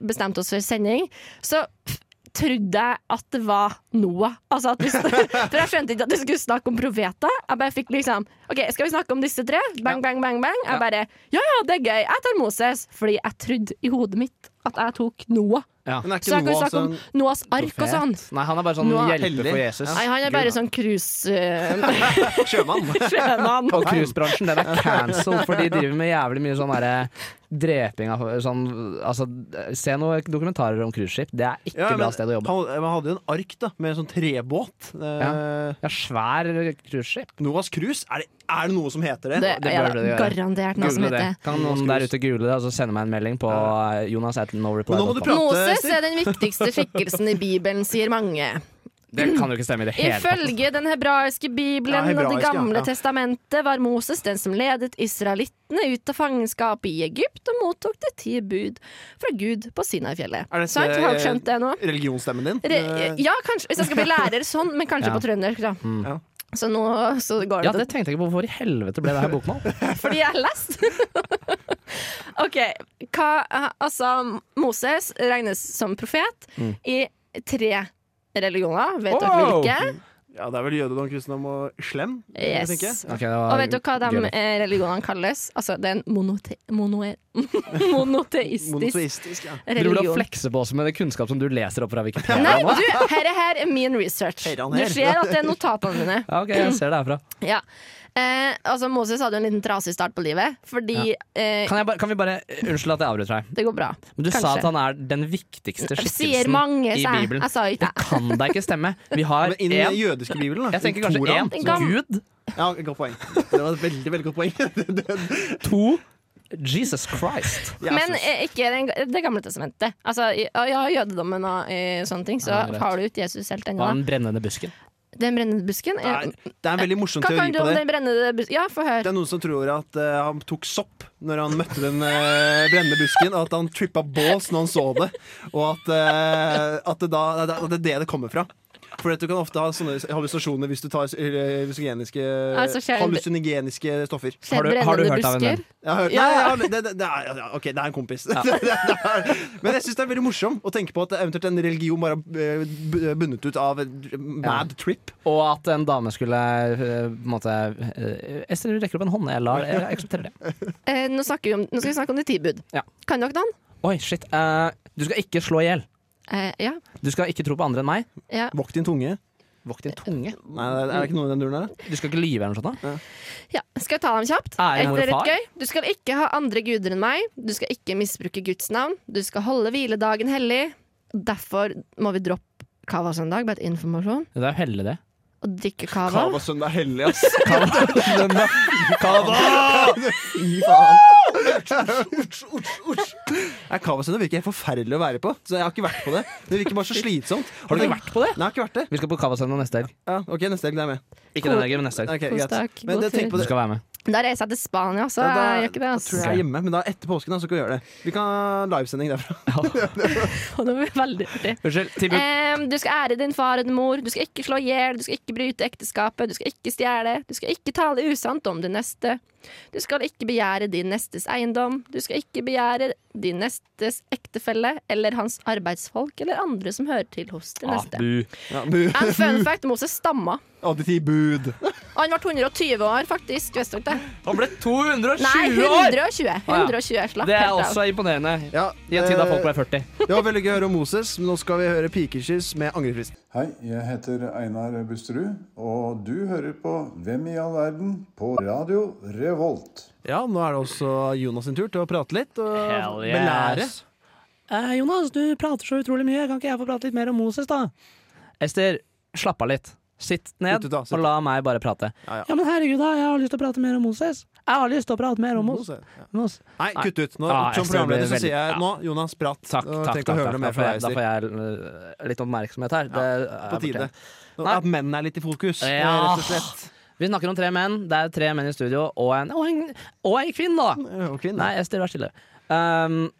D: bestemte oss for sending, så f- trodde jeg at det var Noah. Altså at vi, for jeg skjønte ikke at vi skulle snakke om profeter. Jeg bare fikk liksom OK, skal vi snakke om disse tre? Bang, bang, bang, bang. Jeg bare Ja ja, det er gøy. Jeg tar Moses. Fordi jeg trodde i hodet mitt at jeg tok Noah.
B: Men er ikke
D: Så jeg kan
B: noe
D: jo snakke
B: altså
D: om Noahs ark og sånn.
C: Nei, han er bare sånn
D: Nå er-
C: hjelper for
B: Hellig.
C: Jesus.
D: Nei, han er bare sånn cruise-sjømann.
B: sjømann?
C: Og cruisebransjen, den er cancelled, for de driver med jævlig mye sånn derre dreping av sånn Altså, se noen dokumentarer om cruiseskip. Det er ikke
B: Ja, men
C: bra sted å jobbe.
B: Han, man hadde jo en ark da, med en sånn trebåt. Eh,
C: Ja, svær cruiseskip.
B: Noahs krus, er det, er det noe som heter det?
D: Det
C: det
D: er
C: bør det
D: da
C: gjøre.
D: garantert noe som
C: Google det.
D: heter
C: Kan noen der ute google det, og så sende meg en melding på eh, Jonas at no reply.
B: Men nå må du
C: dot com.
B: prate,
D: Moses
B: Ester.
D: er den viktigste skikkelsen i Bibelen, sier mange.
C: Det kan jo ikke stemme i det hele tatt.
D: Ifølge den hebraiske
B: Ja,
D: Bibelen og
B: hebraisk, ja,
D: Det gamle
B: ja.
D: testamentet var Moses den som ledet israelittene ut av fangenskapet i Egypt og mottok det ti bud fra Gud på Sinai-fjellet.
B: Er dette, eh,
D: Sant? Har dere skjønt det nå?
B: Religionsstemmen din?
D: Re
B: Eh,
D: ja, kanskje, hvis jeg skal bli lærer sånn, men kanskje
C: Ja.
D: på trøndersk, da.
B: Ja.
D: Så nå så går
C: Ja,
D: det
C: det tenkte jeg ikke på. Hvor i helvete ble det her bokmål?
D: fordi jeg har lest. OK. Hva, altså, Moses regnes som profet i tre religioner. Vet dere
C: Mm. Wow!
D: hvilke?
B: ja, det er vel jødedom, kristendom og slem?
D: Yes.
B: tenker jeg.
C: Ok, det var
D: Og vet dere hva de
C: gøy.
D: eh, religionene kalles? Altså, det er en monote monoe monoteistisk
B: Monoteistisk, ja.
C: Driver du og
D: religion.
C: flekser på oss med det kunnskap som du leser opp fra Wikipedia?
D: Nei, du, her, er- her er min research.
B: Her er han
D: Du
B: her.
D: ser at det er notatene mine.
C: Ja, ok, jeg ser det herfra.
D: Ja. Eh, altså, Moses hadde jo en liten trasig start på livet, fordi eh,
C: Kan, jeg bare, kan vi bare Unnskyld at jeg avbryter deg.
D: det går bra.
C: Men du sa
D: Kanskje.
C: at han er den viktigste
D: Sier
C: skikkelsen
D: mange, altså,
C: i
D: sa jeg.
C: Bibelen.
D: Jeg sa ikke
C: Det kan da ikke stemme. Vi har
B: Men I den
C: én
B: jødiske bibelen, da.
C: Jeg tenker
B: i
C: kanskje
B: Toraen,
C: én
D: En
B: så-
D: gam-
C: Gud.
B: Ja, godt poeng. Det var et veldig, veldig godt poeng. Det-
C: To Jesus Christ.
B: Jesus.
D: Men eh, ikke den, det gamle testamentet. Altså, i- ja, i jødedommen og eh, sånne ting, så
C: Ja, greit.
D: har du ikke Jesus helt
C: Og
D: ennå.
C: den brennende busken.
D: da. Den brennende busken
B: det
D: eh,
B: er, det er en veldig morsom
D: Hva
B: teori
D: kan du
B: på
D: om
B: det.
D: den brennende busken? Ja, få
B: Det
D: høre.
B: er noen som tror at eh, han tok sopp når han møtte den eh, brennende busken, og at han trippa bås når han så det. Og at, eh, at, det, da, at det er det det kommer fra. For at du kan ofte ha sånne hallusinasjoner hvis du tar eh, hallusinogeniske,
D: Altså, skjer-
B: hallusinogeniske stoffer.
D: Se,
C: Har du- har du
D: brennende
C: hørt av en
D: busker.
C: venn?
B: Jeg har hørt,
D: Ja,
B: nei, jeg
D: ja.
B: har, det, det, det er, ja, OK, det er en kompis. Det, er, men jeg syns det er veldig morsom å tenke på at eventuelt en religion bare er eh, bundet ut av en mad trip.
C: Og at en dame skulle eh, på en måte eh, Ester rekker opp en hånd. Jeg lar jeg aksepterer det.
D: Eh, nå, snakker vi om, nå skal vi snakke om de ti bud.
C: Ja.
D: Kan dere den?
C: Oi, shit. Eh, du skal ikke slå i hjel.
D: Eh, ja.
C: Du skal ikke tro på andre enn meg.
D: ja.
B: Vokt din tunge.
C: Vokt din tunge.
B: Nei, er det ikke noe i den duren der?
C: Du skal ikke lyve eller noe sånt. da.
D: ja. Skal jeg ta dem kjapt?
C: Ære
D: Er
C: mor og
D: det litt
C: far.
D: gøy? Du skal ikke ha andre guder enn meg. Du skal ikke misbruke Guds navn. Du skal holde hviledagen hellig. Derfor må vi droppe cava søndag, bare et informasjon.
C: Det er jo hellig, det.
D: Og drikke cava.
B: Kava-søndag hellig, ass.
C: Kava!
B: Fy faen. Uts, uts, uts. Nei, Kavasøndag virker helt forferdelig å være på, så jeg har ikke vært på det. Det virker bare så slitsomt.
C: Har du ikke vært på det?
B: Nei, jeg har ikke vært det.
C: Vi skal på Kavasønda neste helg.
B: Ja, ok, neste helg, det er jeg med.
C: Ikke denne helgen, men neste helg.
B: Ok,
D: Kos
B: greit.
D: deg,
B: Men
D: god
B: det, tenk
D: tur.
B: på
C: Du
B: det.
C: skal være med.
D: Da reiser jeg til Spania, så
B: Ja, da-
D: jeg gjør ikke det.
B: Tror jeg
D: Altså.
B: er hjemme, men da etter påsken da, så kan vi gjøre det. Vi kan ha livesending derfra.
D: Og det blir veldig artig.
C: Unnskyld, Tibu.
D: Em, du skal ære din far og din mor, du skal ikke slå i hjel, du skal ikke bryte ekteskapet, du skal ikke stjele, du skal ikke tale usant om din neste. Du skal ikke begjære din nestes eiendom, du skal ikke begjære din nestes ektefelle eller hans arbeidsfolk eller andre som hører til hos din
C: Ah,
D: neste.
C: bu.
B: Ja, bu.
D: En fun fact, Moses stamma.
B: Additiv bud.
D: Og han ble 120 år, faktisk. Visste dere det?
C: Han ble 220
D: Nei,
C: år!
D: 120. 120 slapp
C: Det er
D: helt av.
C: også imponerende.
B: Ja,
C: I en tid da folk
B: eh,
C: ble 40.
B: det var veldig gøy å høre om Moses, men nå skal vi høre Pikekyss med angrefrist.
H: Hei, jeg heter Einar Busterud, og du hører på Hvem i all verden på Radio Revolt.
B: Ja, nå er det også Jonas sin tur til å prate litt og
C: Hell yes.
B: belære.
C: Eh, Jonas, du prater så utrolig mye. Kan ikke jeg få prate litt mer om Moses, da? Ester, slapp av litt. Sitt ned
B: Sitt ut da, sitt
C: og la meg bare prate.
B: Ja, ja.
C: men herregud, da. Jeg har lyst til å prate mer om Moses. Jeg har lyst til å prate mer om
B: Moses, ja.
C: Moses.
B: Nei,
C: Nei.
B: kutt ut. Nå, som
C: Ah, jeg tror det
B: programleder så
C: blir
B: sier
C: veldig-
B: jeg nå, Jonas, prat.
C: Takk,
B: Nå
C: takk,
B: tenkte jeg
C: takk,
B: å høre noe
C: takk. Da
B: mer
C: får
B: fra
C: jeg,
B: deg,
C: da
B: Ester.
C: får jeg øh, litt oppmerksomhet her. Det er
B: På tide.
C: fortjent. Nei.
B: At menn er litt i fokus, eh,
C: Ja.
B: rett og slett.
C: Vi snakker om tre menn. Det er tre menn i studio og en, og en, og en kvinne, da.
B: Og kvinner.
C: Nei, Ester, vær stille. Um,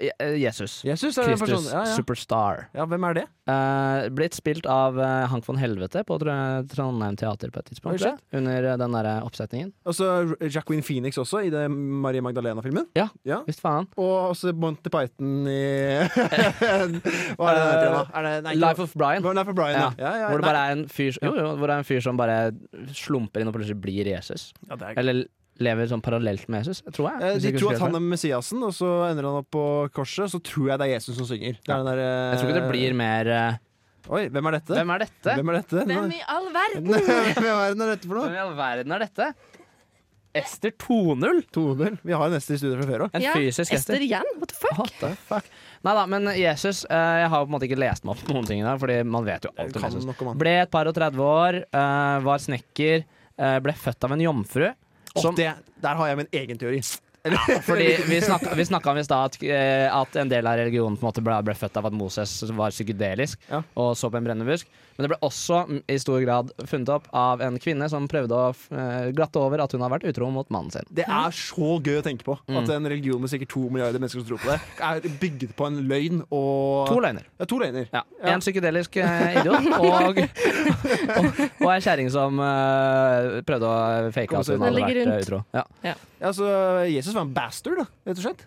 C: Je- Jesus.
B: Jesus er en person.
C: Kristus.
B: Ja, ja.
C: Superstar.
B: ja, hvem er det?
C: Eh, blitt spilt av eh, Hank von Helvete på Tr- Trondheim Teater på et tidspunkt.
B: Oi,
C: tror jeg.
B: shit.
C: Under eh, den derre oppsetningen.
B: Og så Jacqueline Phoenix også, i det Marie Magdalena-filmen.
C: Ja.
B: Ja.
C: Visst faen.
B: Og også Monty Python i Hva er det den heter igjen, da? Er det, nei, ikke-
C: Life of Brian.
B: Life of Brian, ja.
C: Ja.
B: ja, ja,
C: Hvor det
B: nei.
C: bare er en fyr, jo, jo, hvor det er en fyr som bare slumper inn og plutselig blir Jesus.
B: Ja, det er-
C: Eller lever sånn parallelt med Jesus, tror jeg.
B: Eh, De
C: hvis jeg ikke
B: tror
C: husker
B: at han
C: helt feil.
B: er Messiasen, og så ender han opp på korset. Så tror jeg det er Jesus som synger. Det er den der, eh,
C: jeg tror ikke det blir mer eh,
B: Oi, hvem er dette?
C: Hvem er dette?
B: Hvem er dette?
D: Hvem i all verden?
B: Hvem er den er dette for
C: Hvem
B: noe?
C: i all verden er dette? Ester 2.0?
B: Toner. Vi har en neste i studio fra før òg.
C: En
D: Ja,
C: fysisk Ester.
D: Ester igjen? What the fuck?
C: What the fuck? Nei da, men Jesus eh, Jeg har på en måte ikke lest meg opp på noen ting i dag, Fordi man vet jo alt om
B: Kan
C: Jesus.
B: nok om han.
C: Ble et par og 30 år, eh, var snekker, eh, ble født av en jomfru. Som,
B: det, der har jeg min egen teori.
C: fordi Vi snakka vi snakka om i stad at, eh, at en del av religionen på en måte ble, ble født av at Moses var psykedelisk
B: Ja.
C: og så på en brennebusk. Men det ble også mm, i stor grad funnet opp av en kvinne som prøvde å eh, glatte over at hun har vært utro mot mannen sin.
B: Det er så gøy å tenke på.
C: Mm.
B: At en religion med sikkert to milliarder mennesker som tror på det, er bygd på en løgn og
C: To løgner.
B: Ja, to løgner.
C: Ja. En psykedelisk eh, idiot og, og, og ei kjerring som eh, prøvde å fake
B: Kom
C: at
B: seg
C: hun
B: ut.
D: Den
C: hadde
D: ligger
C: vært eh,
D: rundt.
C: utro. Ja.
B: Ja, så Jesus var en bastard, da, rett og slett.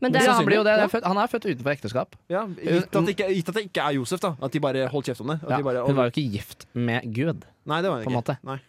D: Men det
C: Ja,
D: er
C: han, blir jo det.
B: Ja.
C: Det er født, han er født utenfor ekteskap.
B: Ja, gitt, at det ikke, gitt at det ikke er Josef, da. At de bare holdt kjeft om det. At
C: Eh, Ja.
B: de bare,
C: Hun var jo ikke gift med Gud.
B: nei, det var
C: på
B: det
C: en
B: ikke.
C: måte.
B: Nei.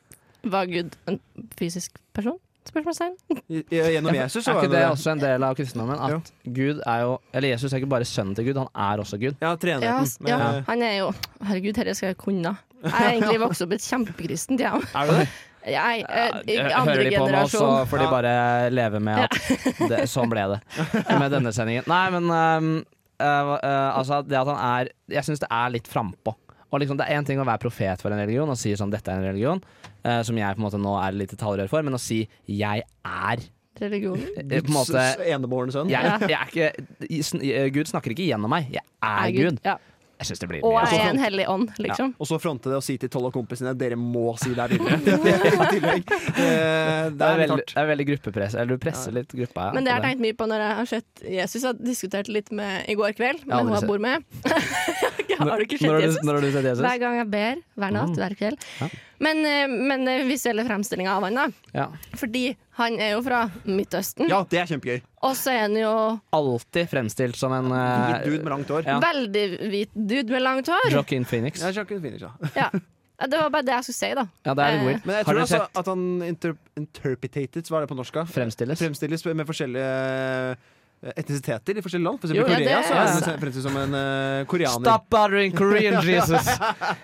D: Var Gud en fysisk person? Spørsmålstegn.
B: I- Gjennom Jesus så
C: er
B: var
C: ikke
B: hun
C: det altså-
B: det.
C: også en del av kristendommen? At Gud er jo Eller Jesus er ikke bare sønnen til Gud, han er også Gud.
B: Ja, Eh,
D: Ja, altså,
B: treenigheten.
D: ja,
B: Men,
D: han er jo Herregud, dette skal jeg kunne. Jeg er egentlig vokst opp i et kjempekristen hjem.
B: Er du det?
D: Jeg er eh, andre
C: Hører de på meg, så
D: generasjon.
C: får de bare leve med at det, sånn ble det med denne sendingen. Nei, men ehm, eh, eh, altså det at han er Jeg syns det er litt frampå. Og liksom, det er én ting å være profet for en religion og si sånn 'dette er en religion', eh, som jeg på en måte nå er litt detaljrør for, men å si 'jeg er'
D: Religion.
C: eh, på en måte
B: S- s- Enebårne sønn.
C: jeg, jeg er ikke, i- sn- eh, Gud snakker ikke gjennom meg, jeg er Gud.
D: Ja.
C: Jeg syns det blir
D: Og
C: mye.
D: jeg
C: Altså.
D: er en hellig ånd, liksom.
B: Og så fronte det og si til tolv av kompisene dere må si det her videre. Det er i tillegg. Eh,
C: Det er,
B: litt
C: veldig,
B: hardt.
C: det er veldig gruppepress. Eller du presser litt gruppa. Ja,
D: Men det
C: på
D: jeg har tenkt mye på når jeg har sett Jesus, jeg diskuterte litt med i går kveld, med
C: har
D: hun
C: aldri
D: jeg bor med. har du ikke
C: Når
D: sett
C: har
D: Jesus?
C: du, når har du sett Jesus? Mm.
D: Hver gang jeg ber, hver natt, hver kveld. Men, eh, men eh, visuelle fremstillinger av han da.
C: Ja.
D: Fordi han er jo fra Midtøsten,
B: Ja, det er kjempegøy.
D: og så er han jo
C: Alltid fremstilt som en eh,
B: Hvit dude med langt hår.
C: Ja.
D: veldig hvit dude med langt hår.
C: Joaquin Phoenix.
B: Jeg sjakker finish, ja.
D: Ja. Ja, Det var bare det jeg skulle si, da.
C: Ja, det er litt weird.
B: Men jeg
C: Har
B: tror
C: dere
B: altså
C: sett
B: at han inter interpretated, hva er det på norsk? da?
C: Fremstilles?
B: Fremstilles med forskjellige eh, etnisiteter i forskjellige land. For
C: Jo,
B: eksempel
D: ja,
B: Korea
D: det-
B: så er han fremstilt som en eh, koreaner.
C: Stop bothering Korean Jesus!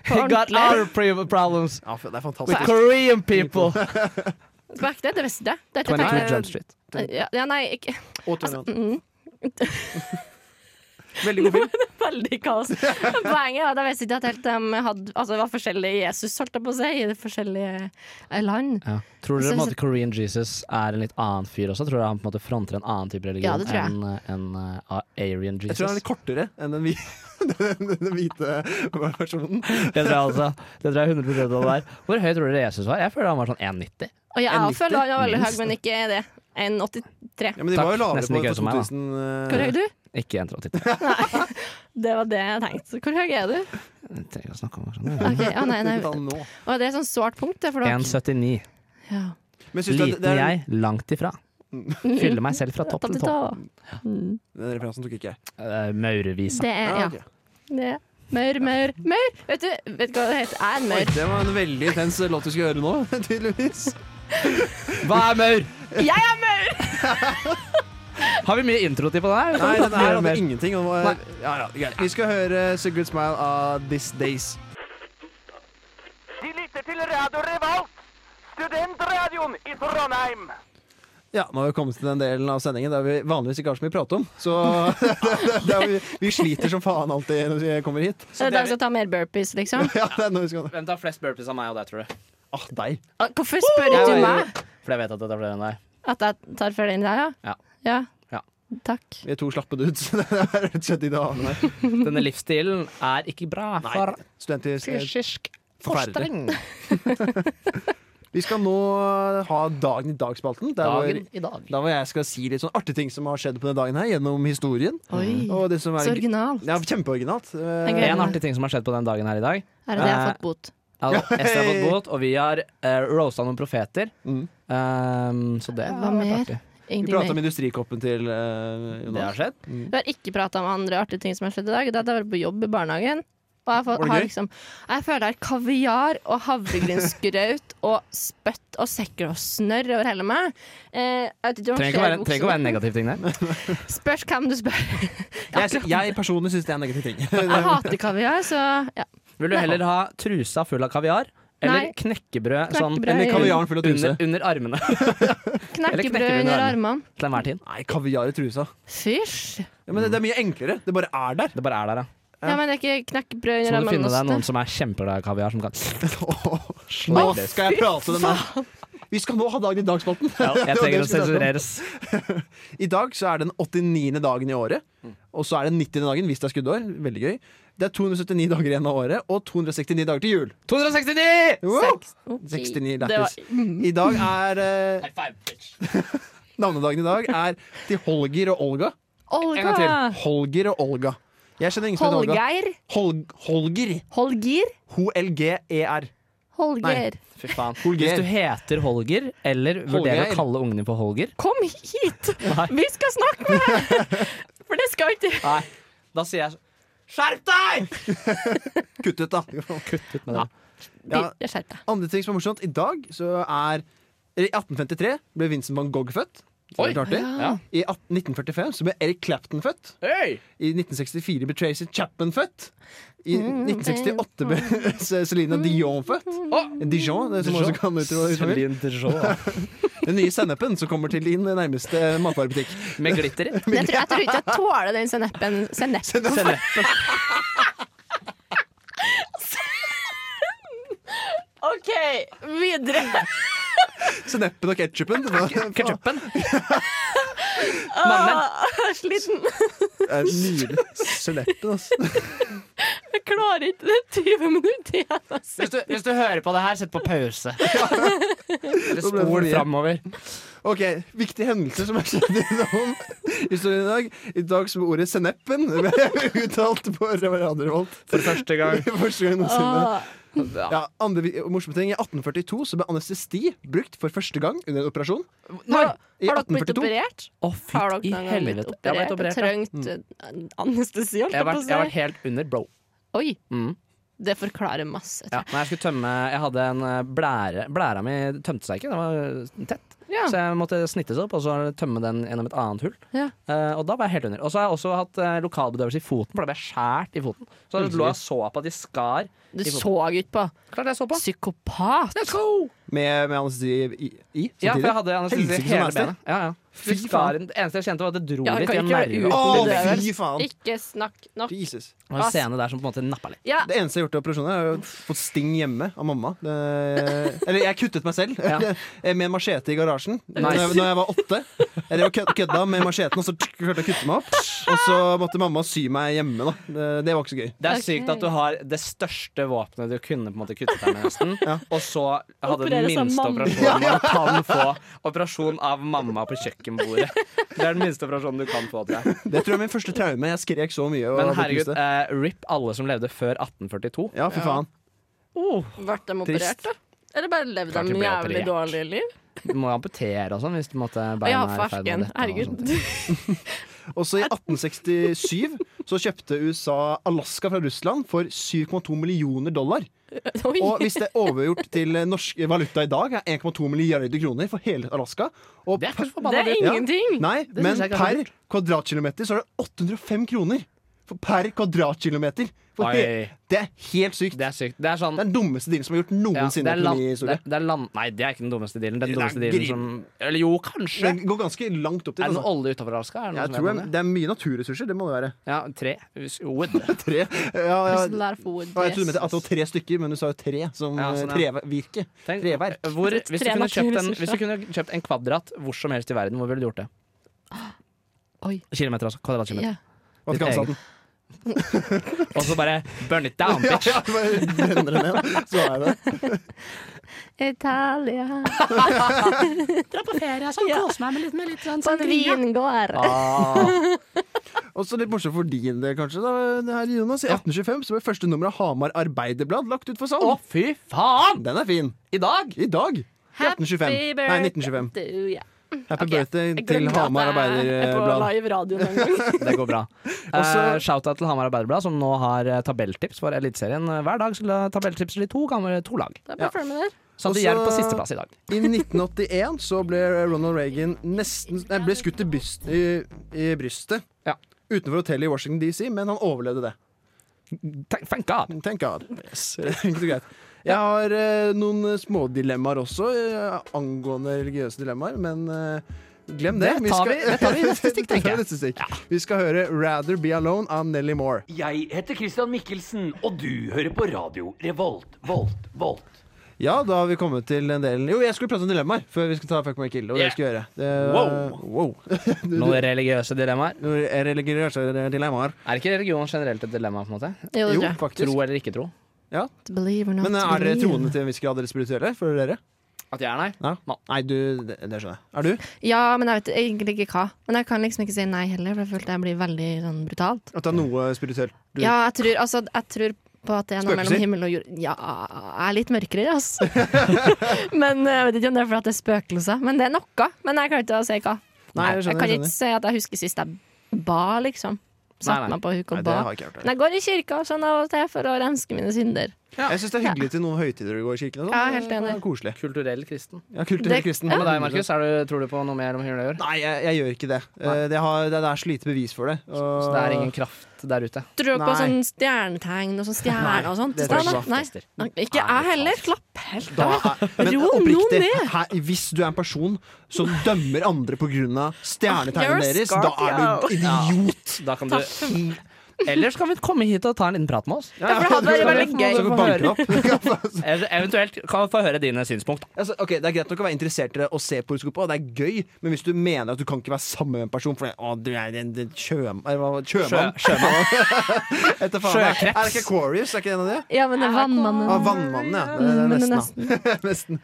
C: He got our pre- problems
B: Ja, for det er
C: with
B: fantastisk.
C: Korean people!
D: På ekte, det visste jeg. Det er
C: 22
D: ikke-
C: Jump Street.
B: altså,
D: Ja, ja, nei, ikke
B: Og Tøyland.
D: mm.
B: mm. Veldig god film.
D: Veldig kaos. Poenget er at jeg visste ikke at helt de hadde Altså, det var forskjellige Jesus, holdt jeg på å si, i de forskjellige eh, land.
C: Ja. Tror
D: Så-
C: dere på en måte Korean Jesus er en litt annen fyr også? Tror dere han på en måte fronter en annen type religion
D: Ja, det tror jeg.
C: enn en, Arian
B: Jeg
C: Jesus?
B: tror den er litt kortere enn den, vi, den, den, den hvite versjonen.
C: Det tror jeg altså. Det tror jeg 100 av det der. Hvor høy tror dere Jesus var? Jeg føler han var sånn 1,90.
D: Og jeg, jeg
B: 1,90,
D: føler han var veldig høy,
B: minst.
D: men ikke det. 1,83.
B: Ja, men de
C: Takk.
B: var jo lavere
C: Nesten
B: på,
C: like høy
B: på
C: som meg, da.
B: 2000.
D: Hvor høy
B: eh,
D: er du?
C: Ikke 1,83.
D: Det var det jeg tenkte. Hvor høy er du?
C: Jeg trenger ikke å snakke om det sånn.
D: Ok, ja, nei, nei.
B: ikke ta den nå.
D: Og det er sånn svart punkt. Det, for da-
C: 1,79.
D: ja.
B: Men syns du at det,
C: Liten
B: det er,
C: jeg, langt ifra. Fyller meg selv fra topp
D: Tatt
C: til
D: i
C: topp.
D: tå. Mm.
B: Den referansen tok ikke jeg.
C: Eh, Maurevisa.
D: Det er
B: Ah,
D: ja.
B: ok.
D: Det er. Maur, maur, maur! Vet du, vet du hva det heter? Jeg er en
B: Oi,
D: maur.
B: det var en veldig intens eh, låt vi skulle høre nå, tydeligvis.
C: Hva er maur?
D: Jeg er maur!
C: Har vi mye introtid på den her?
B: Nei, den her hadde
C: Mer.
B: ingenting. Den var, ja, ja, greit. Vi skal høre It's a Good Smile av This Days.
G: De lytter til Radio Revolt, studentradioen i Trondheim.
B: Ja, nå har vi kommet til den delen av sendingen der vi vanligvis ikke har så mye å prate om. Så det, det, det, vi, vi sliter som faen alltid når vi kommer hit.
D: Det er de som tar mer burpees, liksom.
B: Ja, det er noe vi skal
C: Hvem tar flest burpees av meg og deg, tror du?
B: Ah, deg.
D: Ah, Hvorfor spør du meg
C: Fordi jeg vet at det er flere enn deg.
D: at jeg tar flere enn deg?
C: Ja.
D: ja.
C: Ja.
D: Takk.
B: Vi er to slappe dudes. så Det er rett og slett i det annet her.
C: Denne livsstilen er ikke bra for
B: Studenter eh,
C: fysisk
B: Forferdelig.
C: fostring.
B: Vi skal nå eh, ha Dagen i dag-spalten. Der hvor,
C: Dagen i dag.
B: der hvor jeg skal si litt sånn artige ting som har skjedd på denne dagen her, gjennom historien.
D: Oi.
B: Og det som er
D: Så original.
B: Mm. Ja, kjempeoriginalt. Eh,
D: Jeg gleder
C: En artig ting som har skjedd på den dagen her i dag.
D: Er det det jeg har
C: Eh,
D: fått bot?
C: Altså, Ester har fått bot, og vi har uh, roasta noen profeter.
B: Mm.
C: Ehm, så det
D: Hva
C: har vært
D: mer?
C: artig.
B: Vi
D: Ingenting
B: prata
D: mer.
B: om industrikoppen til eh,
C: Det har
B: Jonas.
C: skjedd.
D: Vi har ikke prata om andre artige ting som har skjedd i dag. Det er at jeg var på jobb i barnehagen. Og jeg,
B: Var
D: får,
B: det
D: har
B: gøy?
D: liksom, jeg føler jeg har kaviar og havregrynsgraut og spytt og sekker og snørr over hele meg. Eh, jeg vet ikke om
C: Trenger ikke å være, trenger ikke å være en negativ ting der.
D: Spørs hvem du spør.
B: Jeg, jeg personlig syns det er en negativ ting.
D: Jeg hater kaviar, så ja.
C: Vil du heller ha trusa full av kaviar? Eller
D: Nei.
C: knekkebrød, sånn
D: Knekkebrød.
B: Eller kaviaren full av truse.
C: under, under armene Eller knekker
D: knekkebrød
C: du
D: under
C: under
D: armene.
C: til enhver tid?
B: Nei, kaviar i trusa.
D: Fysj!
B: Ja, men det, det er mye enklere. Det bare er der.
C: Det bare er der, ja.
D: Ja, men det er ikke knekkebrød
C: Så
D: under
C: må du finne deg
D: armene.
C: noen som er kjempeglad i kaviar, som kan
B: Nå skal jeg prate den her. Vi skal nå ha Dagen i dag-spalten.
C: ja, Jeg
B: Det var det
C: trenger
B: vi
C: å
B: skulle prate om.
C: sensureres.
B: I dag så er det den 89. dagen i året. Og så er det 90. dagen hvis det er skuddår. Veldig gøy. Det er 279 dager igjen av året, og 269 dager til jul.
C: 269!
B: Wow!
D: Seks-
B: 69
D: Det var- Mm.
B: lættis. I dag er eh, Navnedagen i dag er til Holger og Olga. En gang til.
D: Olga!
B: Holger og Olga. Jeg kjenner ingen som heter Olga.
D: Holgeir.
B: Hol Holger.
D: Holgir.
B: H-l-g-e-r.
D: Holger.
C: Fy faen.
B: Holger.
C: Hvis du heter Holger, eller vurderer
B: Holgeir.
C: å kalle ungen din for Holger
D: Kom hit! Vi skal snakke med deg! For det skal ikke
C: Nei, da sier jeg
B: Kutt ut, da.
C: kutt ut med det.
D: De,
B: Ja.
D: jeg skjerper deg.
B: Andre ting som er morsomt. I dag så er eller I 1853 ble Vincent van Gogh født. Det er litt artig. I 18- 1945 så ble Eric Clapton født. I 1964 ble Tracy Chapman født. I 1968 ble Celine Dion født. Dijon, det som også kan uttale Den nye sennepen som kommer til din nærmeste matvarebutikk.
C: Med glitter i.
D: Men Jeg tror, jeg tror ikke jeg tåler den sennepen. Sennep. OK, videre.
B: Sennepen og ketsjupen.
C: Ketchupen.
D: Åh, jeg er sliten.
B: Nydelig. Sennepen, altså.
D: Jeg klarer ikke det. er 20 minutter igjen. altså.
C: Hvis du, hvis du hører på det her, sett på pause. Eller
B: Da ble det for
C: spol
B: mye.
C: framover.
B: Ok, Viktige hendelser som er skjedd innom historien i dag. I dag så ble ordet sennepen uttalt på Radio Revolt
C: For første gang.
B: for første gang noensinne.
D: Åh,
B: Ja, andre vi- morsomme ting. I 1842 så ble anestesi brukt for første gang under en operasjon.
D: Har,
B: I
D: har dere blitt
B: 1842?
D: operert?
C: Å,
D: Har dere noen
C: fytti i
D: gang blitt
C: helvete. Jeg
D: operert,
C: har blitt operert. ja. Mm.
D: og trengt eh, anestesi? holdt
C: Jeg har
D: Jeg på å
C: vært, jeg har vært
D: si?
C: helt under, bro.
D: Oi,
C: Mm.
D: det forklarer masse.
C: Ja. Når jeg skulle tømme Jeg hadde en eh, blære Blæra mi tømte seg ikke, den var eh, tett.
D: Ja.
C: Så jeg måtte snittes opp og så tømme den gjennom et annet hull.
D: Ja.
C: Eh, og da var jeg helt under. Og så har jeg også hatt eh, lokalbedøvelse i foten, for da ble jeg skåret i foten. Så da lå jeg og så på at de skar.
D: Du
C: i foten.
D: så ikke på
C: Klart jeg så på.
D: psykopat!
C: Let's go!
B: Med, med anestesi i, i
C: Ja, for
B: samtidig?
C: jeg hadde anestesi
B: Helsike
C: i
B: som
C: hele
B: neste.
C: benet. Ja, ja. Fy
B: Fy
C: faren. Det eneste jeg kjente, var at det dro
D: Ja,
C: litt i
D: kan
C: en
D: ikke gjøre
C: nerve.
D: uten
B: Å,
D: det der.
B: fy faen!
D: Ikke snakk nok.
B: Jesus.
C: Det var en scene der som på en måte nappa litt.
D: Ja,
B: Det eneste jeg har gjort i operasjoner, er å få sting hjemme av mamma. Det, eller jeg kuttet meg selv Eh,
C: Ja.
B: med en machete i garasjen da
C: Nice.
B: jeg, når jeg var åtte. Jeg drev og kød- kødda med macheten, og så tsk, klarte jeg å kutte meg opp. Og så måtte mamma sy meg hjemme. da Det, det var ikke så gøy.
C: Det er
D: Ok.
C: sykt at du har det største våpenet du kunne på en måte kutte deg med, nesten. Og så hadde den
D: Operere som
C: minste
D: mamma.
C: operasjonen man kan få. Operasjon av mamma på kjøkkenbordet. Det er den minste operasjonen du kan få. Tror jeg.
B: Det tror jeg er min første traume. Jeg skrek så mye. Og
C: Men
B: hadde
C: herregud,
B: lyst til det.
C: eh, rip alle som levde før 1842.
B: Ja, fy faen.
D: Ble de
B: Trist.
D: operert, da? Eller bare levde
C: Klart de
D: de
C: ble
D: jævlig
C: operert.
D: dårlig liv?
C: Du må jo amputere og sånn hvis du måtte
D: Å ja,
C: beina er i ferd med å
D: farsken.
C: dette og sånt.
D: Herregud.
B: Også i 1867 så kjøpte USA Alaska fra Russland for 7,2 millioner dollar. Og
D: Oi.
B: hvis det er overgjort til norsk valuta i dag, er 1,2 milliarder kroner for hele Alaska. Og
C: Det er
B: per-
C: kanskje forbanna
D: Det er
C: dyrt.
D: ingenting.
B: Nei,
C: synes
B: men
C: jeg er
B: per
C: ganske
B: kvadratkilometer så er det 805 kroner. For per kvadratkilometer. For
C: Oi.
B: he- det er helt sykt.
C: Det er sykt. Det er sånn
B: Det er den dummeste dealen som er gjort
C: ja, det
B: noensinne
C: er
B: i
C: land, det,
B: økonomihistorie.
C: det er land... Nei, det er ikke den dummeste dealen. Den
B: Det er
C: dummeste dealen
B: grin.
C: som Eller jo, kanskje.
B: Den går ganske langt opp
C: Er
B: til.
C: det noe
B: Altså.
C: olje utafor Alaska? Er det noe
B: Jeg
C: som
B: tror
C: er
B: jeg, det er mye naturressurser. Det må det være.
C: Ja, tre. Wood.
B: Tre. Ja, ja.
D: There's a lot of
B: Og
D: wood,
B: jeg trodde du
D: yes.
B: mente at det var tre stykker, men du sa jo tre som
C: Ja,
B: eh,
C: sånn, ja.
B: trevirke.
C: Tenk,
B: Treverk.
C: hvor, hvis, du
D: Tre
C: kunne kjøpt en,
D: naturressurser.
C: hvis du kunne kjøpt en kvadrat hvor som helst i verden, hvor ville du gjort det?
D: Oi.
C: Kilometer, altså.
D: Ja.
C: Kvadratkilometer.
B: Vatikanstaten.
C: Og så bare burn it down,
B: Ja,
C: bitch!
B: ja, bare brenner det ned. Så er det.
D: Italia. Dra på ferie, sånn. Kos meg med litt,
C: Sånn
D: På en Sånn vingård.
C: Ah,
B: Og så litt morsomt for din del, kanskje. Da, det her, Jonas. I 1825 så ble første nummer av Hamar Arbeiderblad lagt ut for salg.
C: Å, fy faen!
B: Den er fin.
C: I dag!
B: I dag. I 1825. Nei, 1925. Happy birthday til Hamar Arbeiderblad.
D: live radio en gang.
C: Det går bra. Eh, Shout-out til Hamar Arbeiderblad, som nå har eh, tabelltips for Eliteserien. Eh, Hver dag skulle tabelltipser de to, gamle to lag.
D: Det er bare å følge med der.
C: Som
B: Også-
C: de gjør på sisteplass i dag.
B: I 1981 så ble Ronald Reagan nesten nei, ble skutt i, byst, i, i brystet.
C: Ja.
B: Utenfor hotellet i Washington DC, men han overlevde det.
C: Thank- Thank God.
B: Thank God. Ikke så greit. Jeg har eh, noen smådilemmaer også, eh, angående religiøse dilemmaer, men eh, glem det.
C: Det tar vi- det tar vi i neste stikk, tenker jeg.
B: Det tar vi i neste stikk. Vi skal høre 'Rather Be Alone' av Nelly Moore.
I: Jeg heter Christian Mikkelsen, og du hører på radio Revolt, Volt, Volt.
B: Ja, da har vi kommet til en del Jo, jeg skulle prate om dilemmaer før vi skal ta Fuck, marry, kill. Og det skal vi gjøre. Det, wow.
C: Noen religiøse dilemmaer.
B: Nå er Religiøse dilemmaer.
C: Er ikke religion generelt et dilemma? på en måte?
D: Jo,
B: Jo,
D: det tror jeg.
B: faktisk.
C: Tro eller ikke tro?
D: Believe or not
B: Men er dere
D: believe.
B: troende til en viss grad eller spirituelle for dere?
C: At jeg er nei?
B: Ja. Nei, du, det, det skjønner jeg. Er du?
D: Ja, men jeg vet egentlig ikke hva. Men jeg kan liksom ikke si nei heller, for jeg følte jeg blir veldig sånn brutalt.
B: At det er noe spirituelt? Du,
D: Ja, jeg tror, altså, jeg tror på at det er noe
B: Spøkelser?
D: mellom himmel og jord. Ja, jeg er litt mørkere, altså. men eh, jeg vet ikke om det er fordi at det er spøkelser. Men det er noe. Men jeg klarer ikke å si hva.
B: Nei, jeg skjønner,
D: kan
B: jeg skjønner.
D: ikke si at jeg husker sist jeg ba, liksom.
C: Nei,
D: Satt
C: nei.
D: meg på huk
B: Nei,
D: og
B: det
D: ba.
B: har jeg ikke hørt.
D: Men jeg går i kirka sånn av og til for å renske mine synder.
B: Jeg syns det er hyggelig til noen høytider å gå i kirken. Og sånn.
D: Ja, helt enig.
B: Det er koselig.
C: Kulturell kristen.
B: Ja, kult
D: Det-
B: kristen.
C: Hva med deg, Markus? Er du, tror du på noe mer om himmel og jord?
B: Nei, jeg, jeg gjør ikke det. Eh, Det, har, det, det er så lite bevis for det. Og...
C: Så det er ingen kraft der ute.
D: Tror du på
B: Nei.
D: sånn stjernetegn og sånn stjerne og sånt?
B: det tror jeg
D: Nei,
B: ikke.
D: nei. Nei, Ikke jeg heller. Slapp helt
B: Da
D: av.
B: er, men
D: Ro nå
B: oppriktig,
D: ned.
B: her, hvis du er en person som dømmer andre pga.
D: You're a
B: stjernetegnet deres, da er du
C: Idiot! Da kan du
B: Hmm.
C: Ellers kan vi komme hit og ta en liten prat med oss.
D: Ja, for det hadde vært veldig gøy.
B: Så kan vi banke den opp.
C: Eller Eventuelt kan vi få høre dine synspunkt.
B: altså, ok, Det er greit nok å være interessert i det og se på horoskopet, og det er gøy, men hvis du mener at du kan ikke være sammen med en person fordi å, du er en, en sjøm, eller hva- sjømann Etter faen, det er-
C: Sjøkreps.
B: Er det ikke Aquarius? Er ikke det en av de?
D: Ja, men det er vannmannen.
B: Ah, Vannmannen, ja. Det er
D: Mm, Men det er
B: nesten, da. nesten.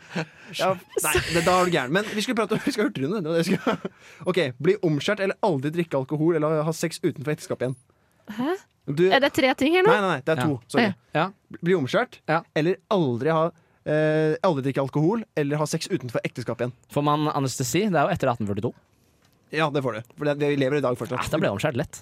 B: Ja, nei, det, da er du gæren. Men vi skulle prate om vi skal ha hurtigrunde. Det var det vi skulle- Ok, Bli omskjært eller aldri drikke alkohol eller ha sex utenfor ekteskap igjen.
D: Hæ?
B: Du,
D: Er
B: nei,
D: det tre ting her nå?
B: nei, nei, det er to. Sorry.
C: Ja.
B: Bli omskjært
C: Ja.
B: eller aldri ha Eh, aldri drikke alkohol eller ha sex utenfor ekteskap igjen.
C: Får man anestesi? Det er jo etter 1842.
B: Ja, det får du. For det, det lever i dag fortsatt.
C: Ja, Ah, da blir det omskjært lett.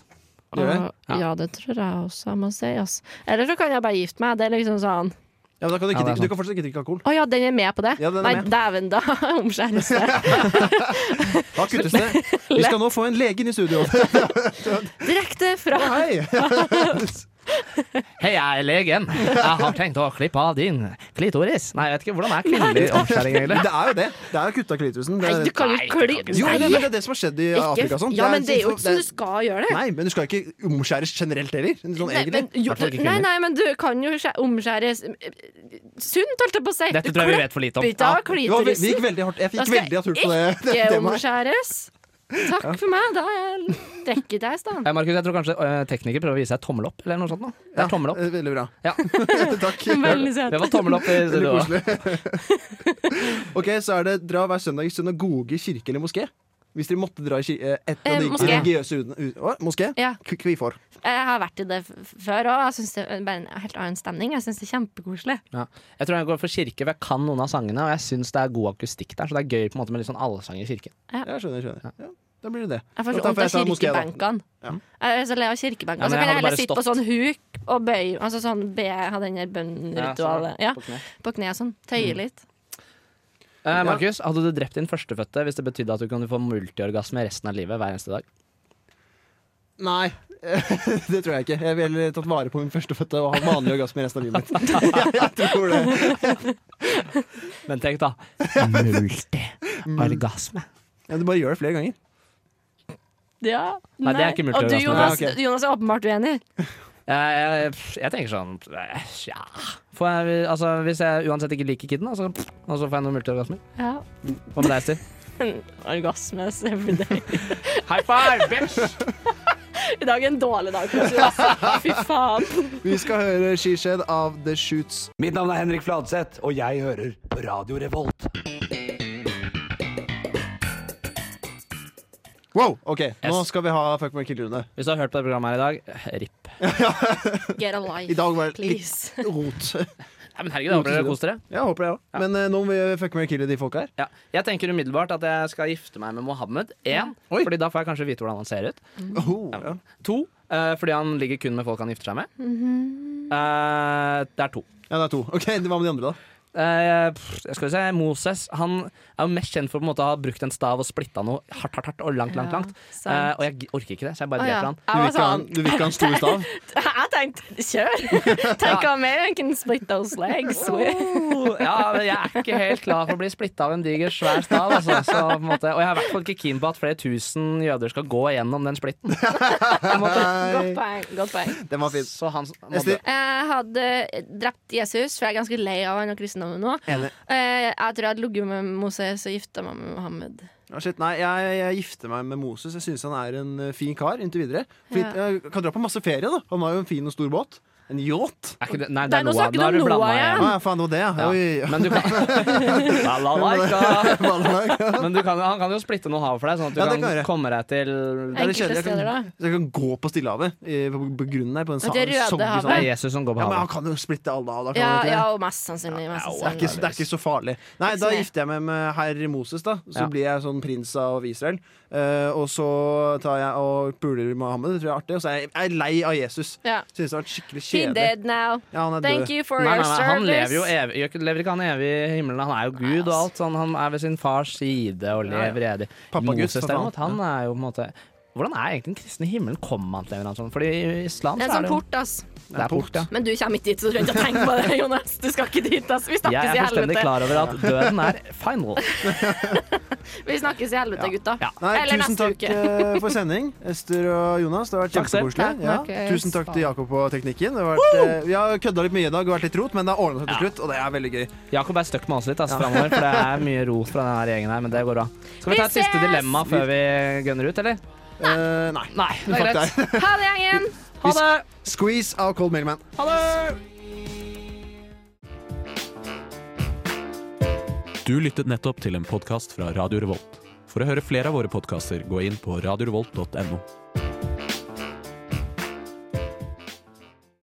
B: Gjør det?
D: Ja. ja, det tror jeg også jeg må si. Ass. Eller så kan jeg bare gifte meg. Det er liksom sånn
B: Ja, men da kan du, ikke
C: Ja, det er
B: drikke, du kan fortsatt ikke drikke alkohol.
D: Å ja, den er med på det?
B: Ja, den er
D: Nei,
B: med.
D: dæven, da omskjæres det.
B: Da kuttes det. Vi skal nå få en lege inn i studio.
D: Direkte fra
B: Hei!
C: Hei, jeg er legen. Jeg har tenkt å klippe av din klitoris. Nei, jeg vet ikke. Hvordan er kvinnelig omskjæring,
B: Men
C: egentlig?
B: det er jo det. Det er jo kutta klitorisen. Det
D: Nei,
B: er,
D: du kan jo
C: Nei, det kan
D: kli...
C: ikke
B: jo, men det, men
D: Nei!
B: det er det som har skjedd i Afrika. og
D: Ikke.
B: Sånt.
D: Ja, men det er jo
B: det
D: ikke sånn du skal gjøre det.
B: Nei, men du skal ikke omskjæres generelt heller. Sånn
D: Nei,
B: egentlig.
D: men, jo,
C: Hvertfall ikke
D: nei,
C: kvinner.
D: nei, men du kan jo skjæ- omskjæres eh, sunt, holdt jeg på å si.
C: Dette tror jeg vi vet for lite om.
D: Klippet av
B: Jo, vi, vi gikk
D: klitorisen.
B: veldig hardt. Jeg
D: Da
B: fikk
D: skal
B: veldig av tur på det, det
D: ikke
B: temaet.
D: omskjæres. Takk for meg, da har jeg dekket deg i stand.
C: Eh, Markus, jeg tror kanskje eh, tekniker prøver å vise deg tommel opp, eller noe sånt. nå. Det
B: Ja,
C: er tommel opp.
B: eh, Veldig bra.
C: Ja.
B: Takk.
D: Veldig søt.
C: Det var tommel opp i
B: Veldig
C: studio. også.
B: koselig. ok, så er det dra hver søndag i synagoge, kirke eller moské. Hvis dere måtte dra i kirke, eh, et
D: Eh,
B: av de
D: moské.
B: religiøse uten- u- å, Moské?
D: Ja.
B: K- Hvorfor?
D: Jeg har vært i det f- før òg. Jeg syns det er bare en helt annen stemning. Jeg syns det er kjempekoselig.
C: Ja. Jeg tror jeg går for kirke, for jeg kan noen av sangene, og jeg syns det er god akustikk der. Så det er gøy på en måte med litt sånn allsang i kirken.
B: Ja, skjønner, skjønner. Ja, da blir det det.
D: Jeg får
B: Da
D: så
B: tar-
D: vondt
B: får jeg
D: av
B: ta moské, da.
D: kirkebenkene.
B: Ja.
D: Jeg er så lei av kirkebenkene. så
C: Ja, men jeg
D: kan jeg
C: hadde
D: heller
C: bare
D: sitte på sånn huk og bøye Altså sånn be, ha den der bønnritualet. Ja,
C: På kne. Mm.
D: på kne og sånn. Tøye litt.
C: Eh, Markus, hadde du drept din førstefødte hvis det betydde at du kunne få multiorgasme resten av livet hver eneste dag?
B: Nei, det tror jeg ikke. Jeg ville tatt vare på min førstefødte og ha vanlig orgasme resten av livet mitt. jeg, tror det.
C: Men tenk, da. Multiorgasme.
B: Ja, du bare gjør det flere ganger.
D: Ja,
C: Nei, det er ikke
D: Og du,
C: multiorgasme.
D: Jonas,
B: Nei, ok.
D: Jonas er åpenbart uenig.
C: Jeg, jeg, jeg tenker sånn eh, Ja. Får jeg, altså, hvis jeg uansett ikke liker kiden, altså, og så får jeg noen multiorgasmer?
D: Ja.
C: Hva med deg, Ester?
D: Orgasme is every day.
C: High five, bitch!
D: I dag er en dårlig dag for oss, Jonas. Fy faen.
B: Vi skal høre She Shed av The Shoots.
I: Mitt navn er Henrik Fladseth, og jeg hører på Radio Revolt.
B: Wow, ok, Nå
C: Yes.
B: skal vi ha Fuck my kill-runde.
C: Hvis du har hørt på det programmet her i dag, eh, ripp.
D: Get a
B: I
D: life,
B: dag var det litt
D: please.
B: rot.
C: Nei, men herregud, da håper dere koser dere.
B: Jeg håper det, ja. Men eh, nå må vi fuck my kill de folka her.
C: Ja. Jeg tenker umiddelbart at jeg skal gifte meg med Mohammed. Én,
B: Oi.
C: fordi da får jeg kanskje vite hvordan han ser ut.
B: Oh, ja.
C: To, eh, fordi han ligger kun med folk han gifter seg med.
D: Mhm.
C: Eh, det er to.
B: ja, det er to. Ok, Hva med de andre, da?
C: Eh, pff, jeg skal si Moses han er jo mest kjent for på en måte å ha brukt en stav og splitta noe hardt hardt, hardt og langt. langt, langt
D: sant.
C: Eh, Og jeg gi- orker ikke det, så jeg bare
D: Å, ja.
C: dreper
B: Du vil ikke ha en-
D: Jeg var
C: han.
D: sånn
B: du vil ikke ha en stor stav?
D: Jeg tenkte kjør! Tenk om jeg can split those legs. with.
C: Oh, ja, men jeg er ikke helt klar for å bli splitta av en diger, svær stav. Altså, så, på en måte, og jeg er i hvert fall ikke keen på at flere tusen jøder skal gå gjennom den splitten. På en måte.
D: Godt poeng. Godt poeng.
B: Den var fin.
C: Så han må dø.
B: Ester?
D: Jeg hadde drept Jesus, for jeg er ganske lei av han og kristendommen nå.
B: Enig.
D: Eh, Jeg tror jeg hadde ligget med Moses og gifta meg med Mohammed.
B: Ja, shit, nei, jeg, jeg gifter meg med Moses. Jeg syns han er en eh, fin kar inntil videre. Fin,
D: Ja.
B: jeg kan dra på masse ferie, da. Han har jo en fin og stor båt. En yacht.
C: Er ikke det, nei, det
D: Der,
C: er
D: nå
C: Noah.
D: snakket
C: Nå har
D: du
C: du
D: om
C: blanda
D: Noah
C: igjen.
D: igjen.
B: Ja, faen, det var det, ja. Oi.
C: Men du kan Balalaika.
B: Balalaika.
C: Men du kan, han kan jo splitte noen hav for deg, sånn at du
B: Ja, det
C: kan,
B: kan jeg gjøre.
C: komme deg til
B: Det er litt
D: Enkelte
B: kjedelig. Jeg kan-
D: steder, da.
B: Så jeg kan gå på Stillehavet i- på, på grunnen der. På en sa-
D: Det Røde
B: soggy
D: Havet.
C: Det
B: sand.
C: er Jesus som går på
B: Ja, men han
C: havet.
B: kan jo splitte alle av, da. Kan
D: Ja,
B: han ikke det?
D: ja, og mest sannsynlig. Mest
C: Ja,
B: Det er, ikke,
D: sannsynlig.
B: det er ikke så farlig. Nei,
D: Altså, Ikke
B: Da
D: så mye.
B: gifter jeg meg med herr Moses, da. Så
C: Ja.
B: blir jeg sånn prins av Israel. Eh, og så tar jeg og puler Mohammed, det tror jeg er artig. Og så er jeg, jeg er lei av Jesus.
D: Ja.
B: Synes det har vært skikkelig
D: He
B: kjedelig.
D: dead now.
B: Ja, han er
D: Thank
B: død.
D: you for
C: Nei, nei,
D: your
C: nei, han lever jo
D: service.
C: evig, gjør ikke- lever ikke han evig i himmelen? Han er jo Gud og alt. Sånn, han er ved sin fars side og lever evig.
B: Pappa Gud,
C: Moses
B: for faen.
C: derimot, han er jo på en måte Hvordan er egentlig den kristne himmelen? Kommer man til en eller annen sånn? Fordi i islam
D: Det
C: så
D: er en
C: er det
D: sånn
C: jo
D: port, ass.
C: Det er port, ja.
D: Men du kommer ikke dit, så du trenger ikke å tenke på det, Jonas. Du skal ikke dit, ass. Vi
C: Jeg
D: snakkes
C: er
D: i
C: fullstendig
D: helvete.
C: klar over at døden er final.
D: Vi snakkes i helvete, gutta.
C: Ja.
B: Nei,
D: Eller
B: tusen
D: neste
B: takk
D: uke.
B: eh, for sending, Ester og Jonas. Det har vært
C: Takk selv.
B: kjempekoselig.
D: Takk,
B: Ja.
D: Markus.
B: Tusen takk til Jakob og teknikken. Det har vært, eh, vi har kødda litt mye i dag og vært litt rot, men det har ordna seg til slutt, og det er veldig gøy.
C: Jakob er stuck med oss litt ass, framover, for det er mye rot fra denne gjengen her, men det går bra. Skal vi ta et
D: Vi
C: siste
D: ses!
C: dilemma før vi gunner ut, eller?
B: Eh, nei.
C: Nei, det er greit.
B: Fuck deg.
D: Ha det, gjengen.
C: Ha det!
B: Squeeze av Cold Mailman.
C: Ha det!
J: Du lyttet nettopp til en podkast fra Radio Revolt. For å høre flere av våre podkaster, gå inn på radiorevolt.no.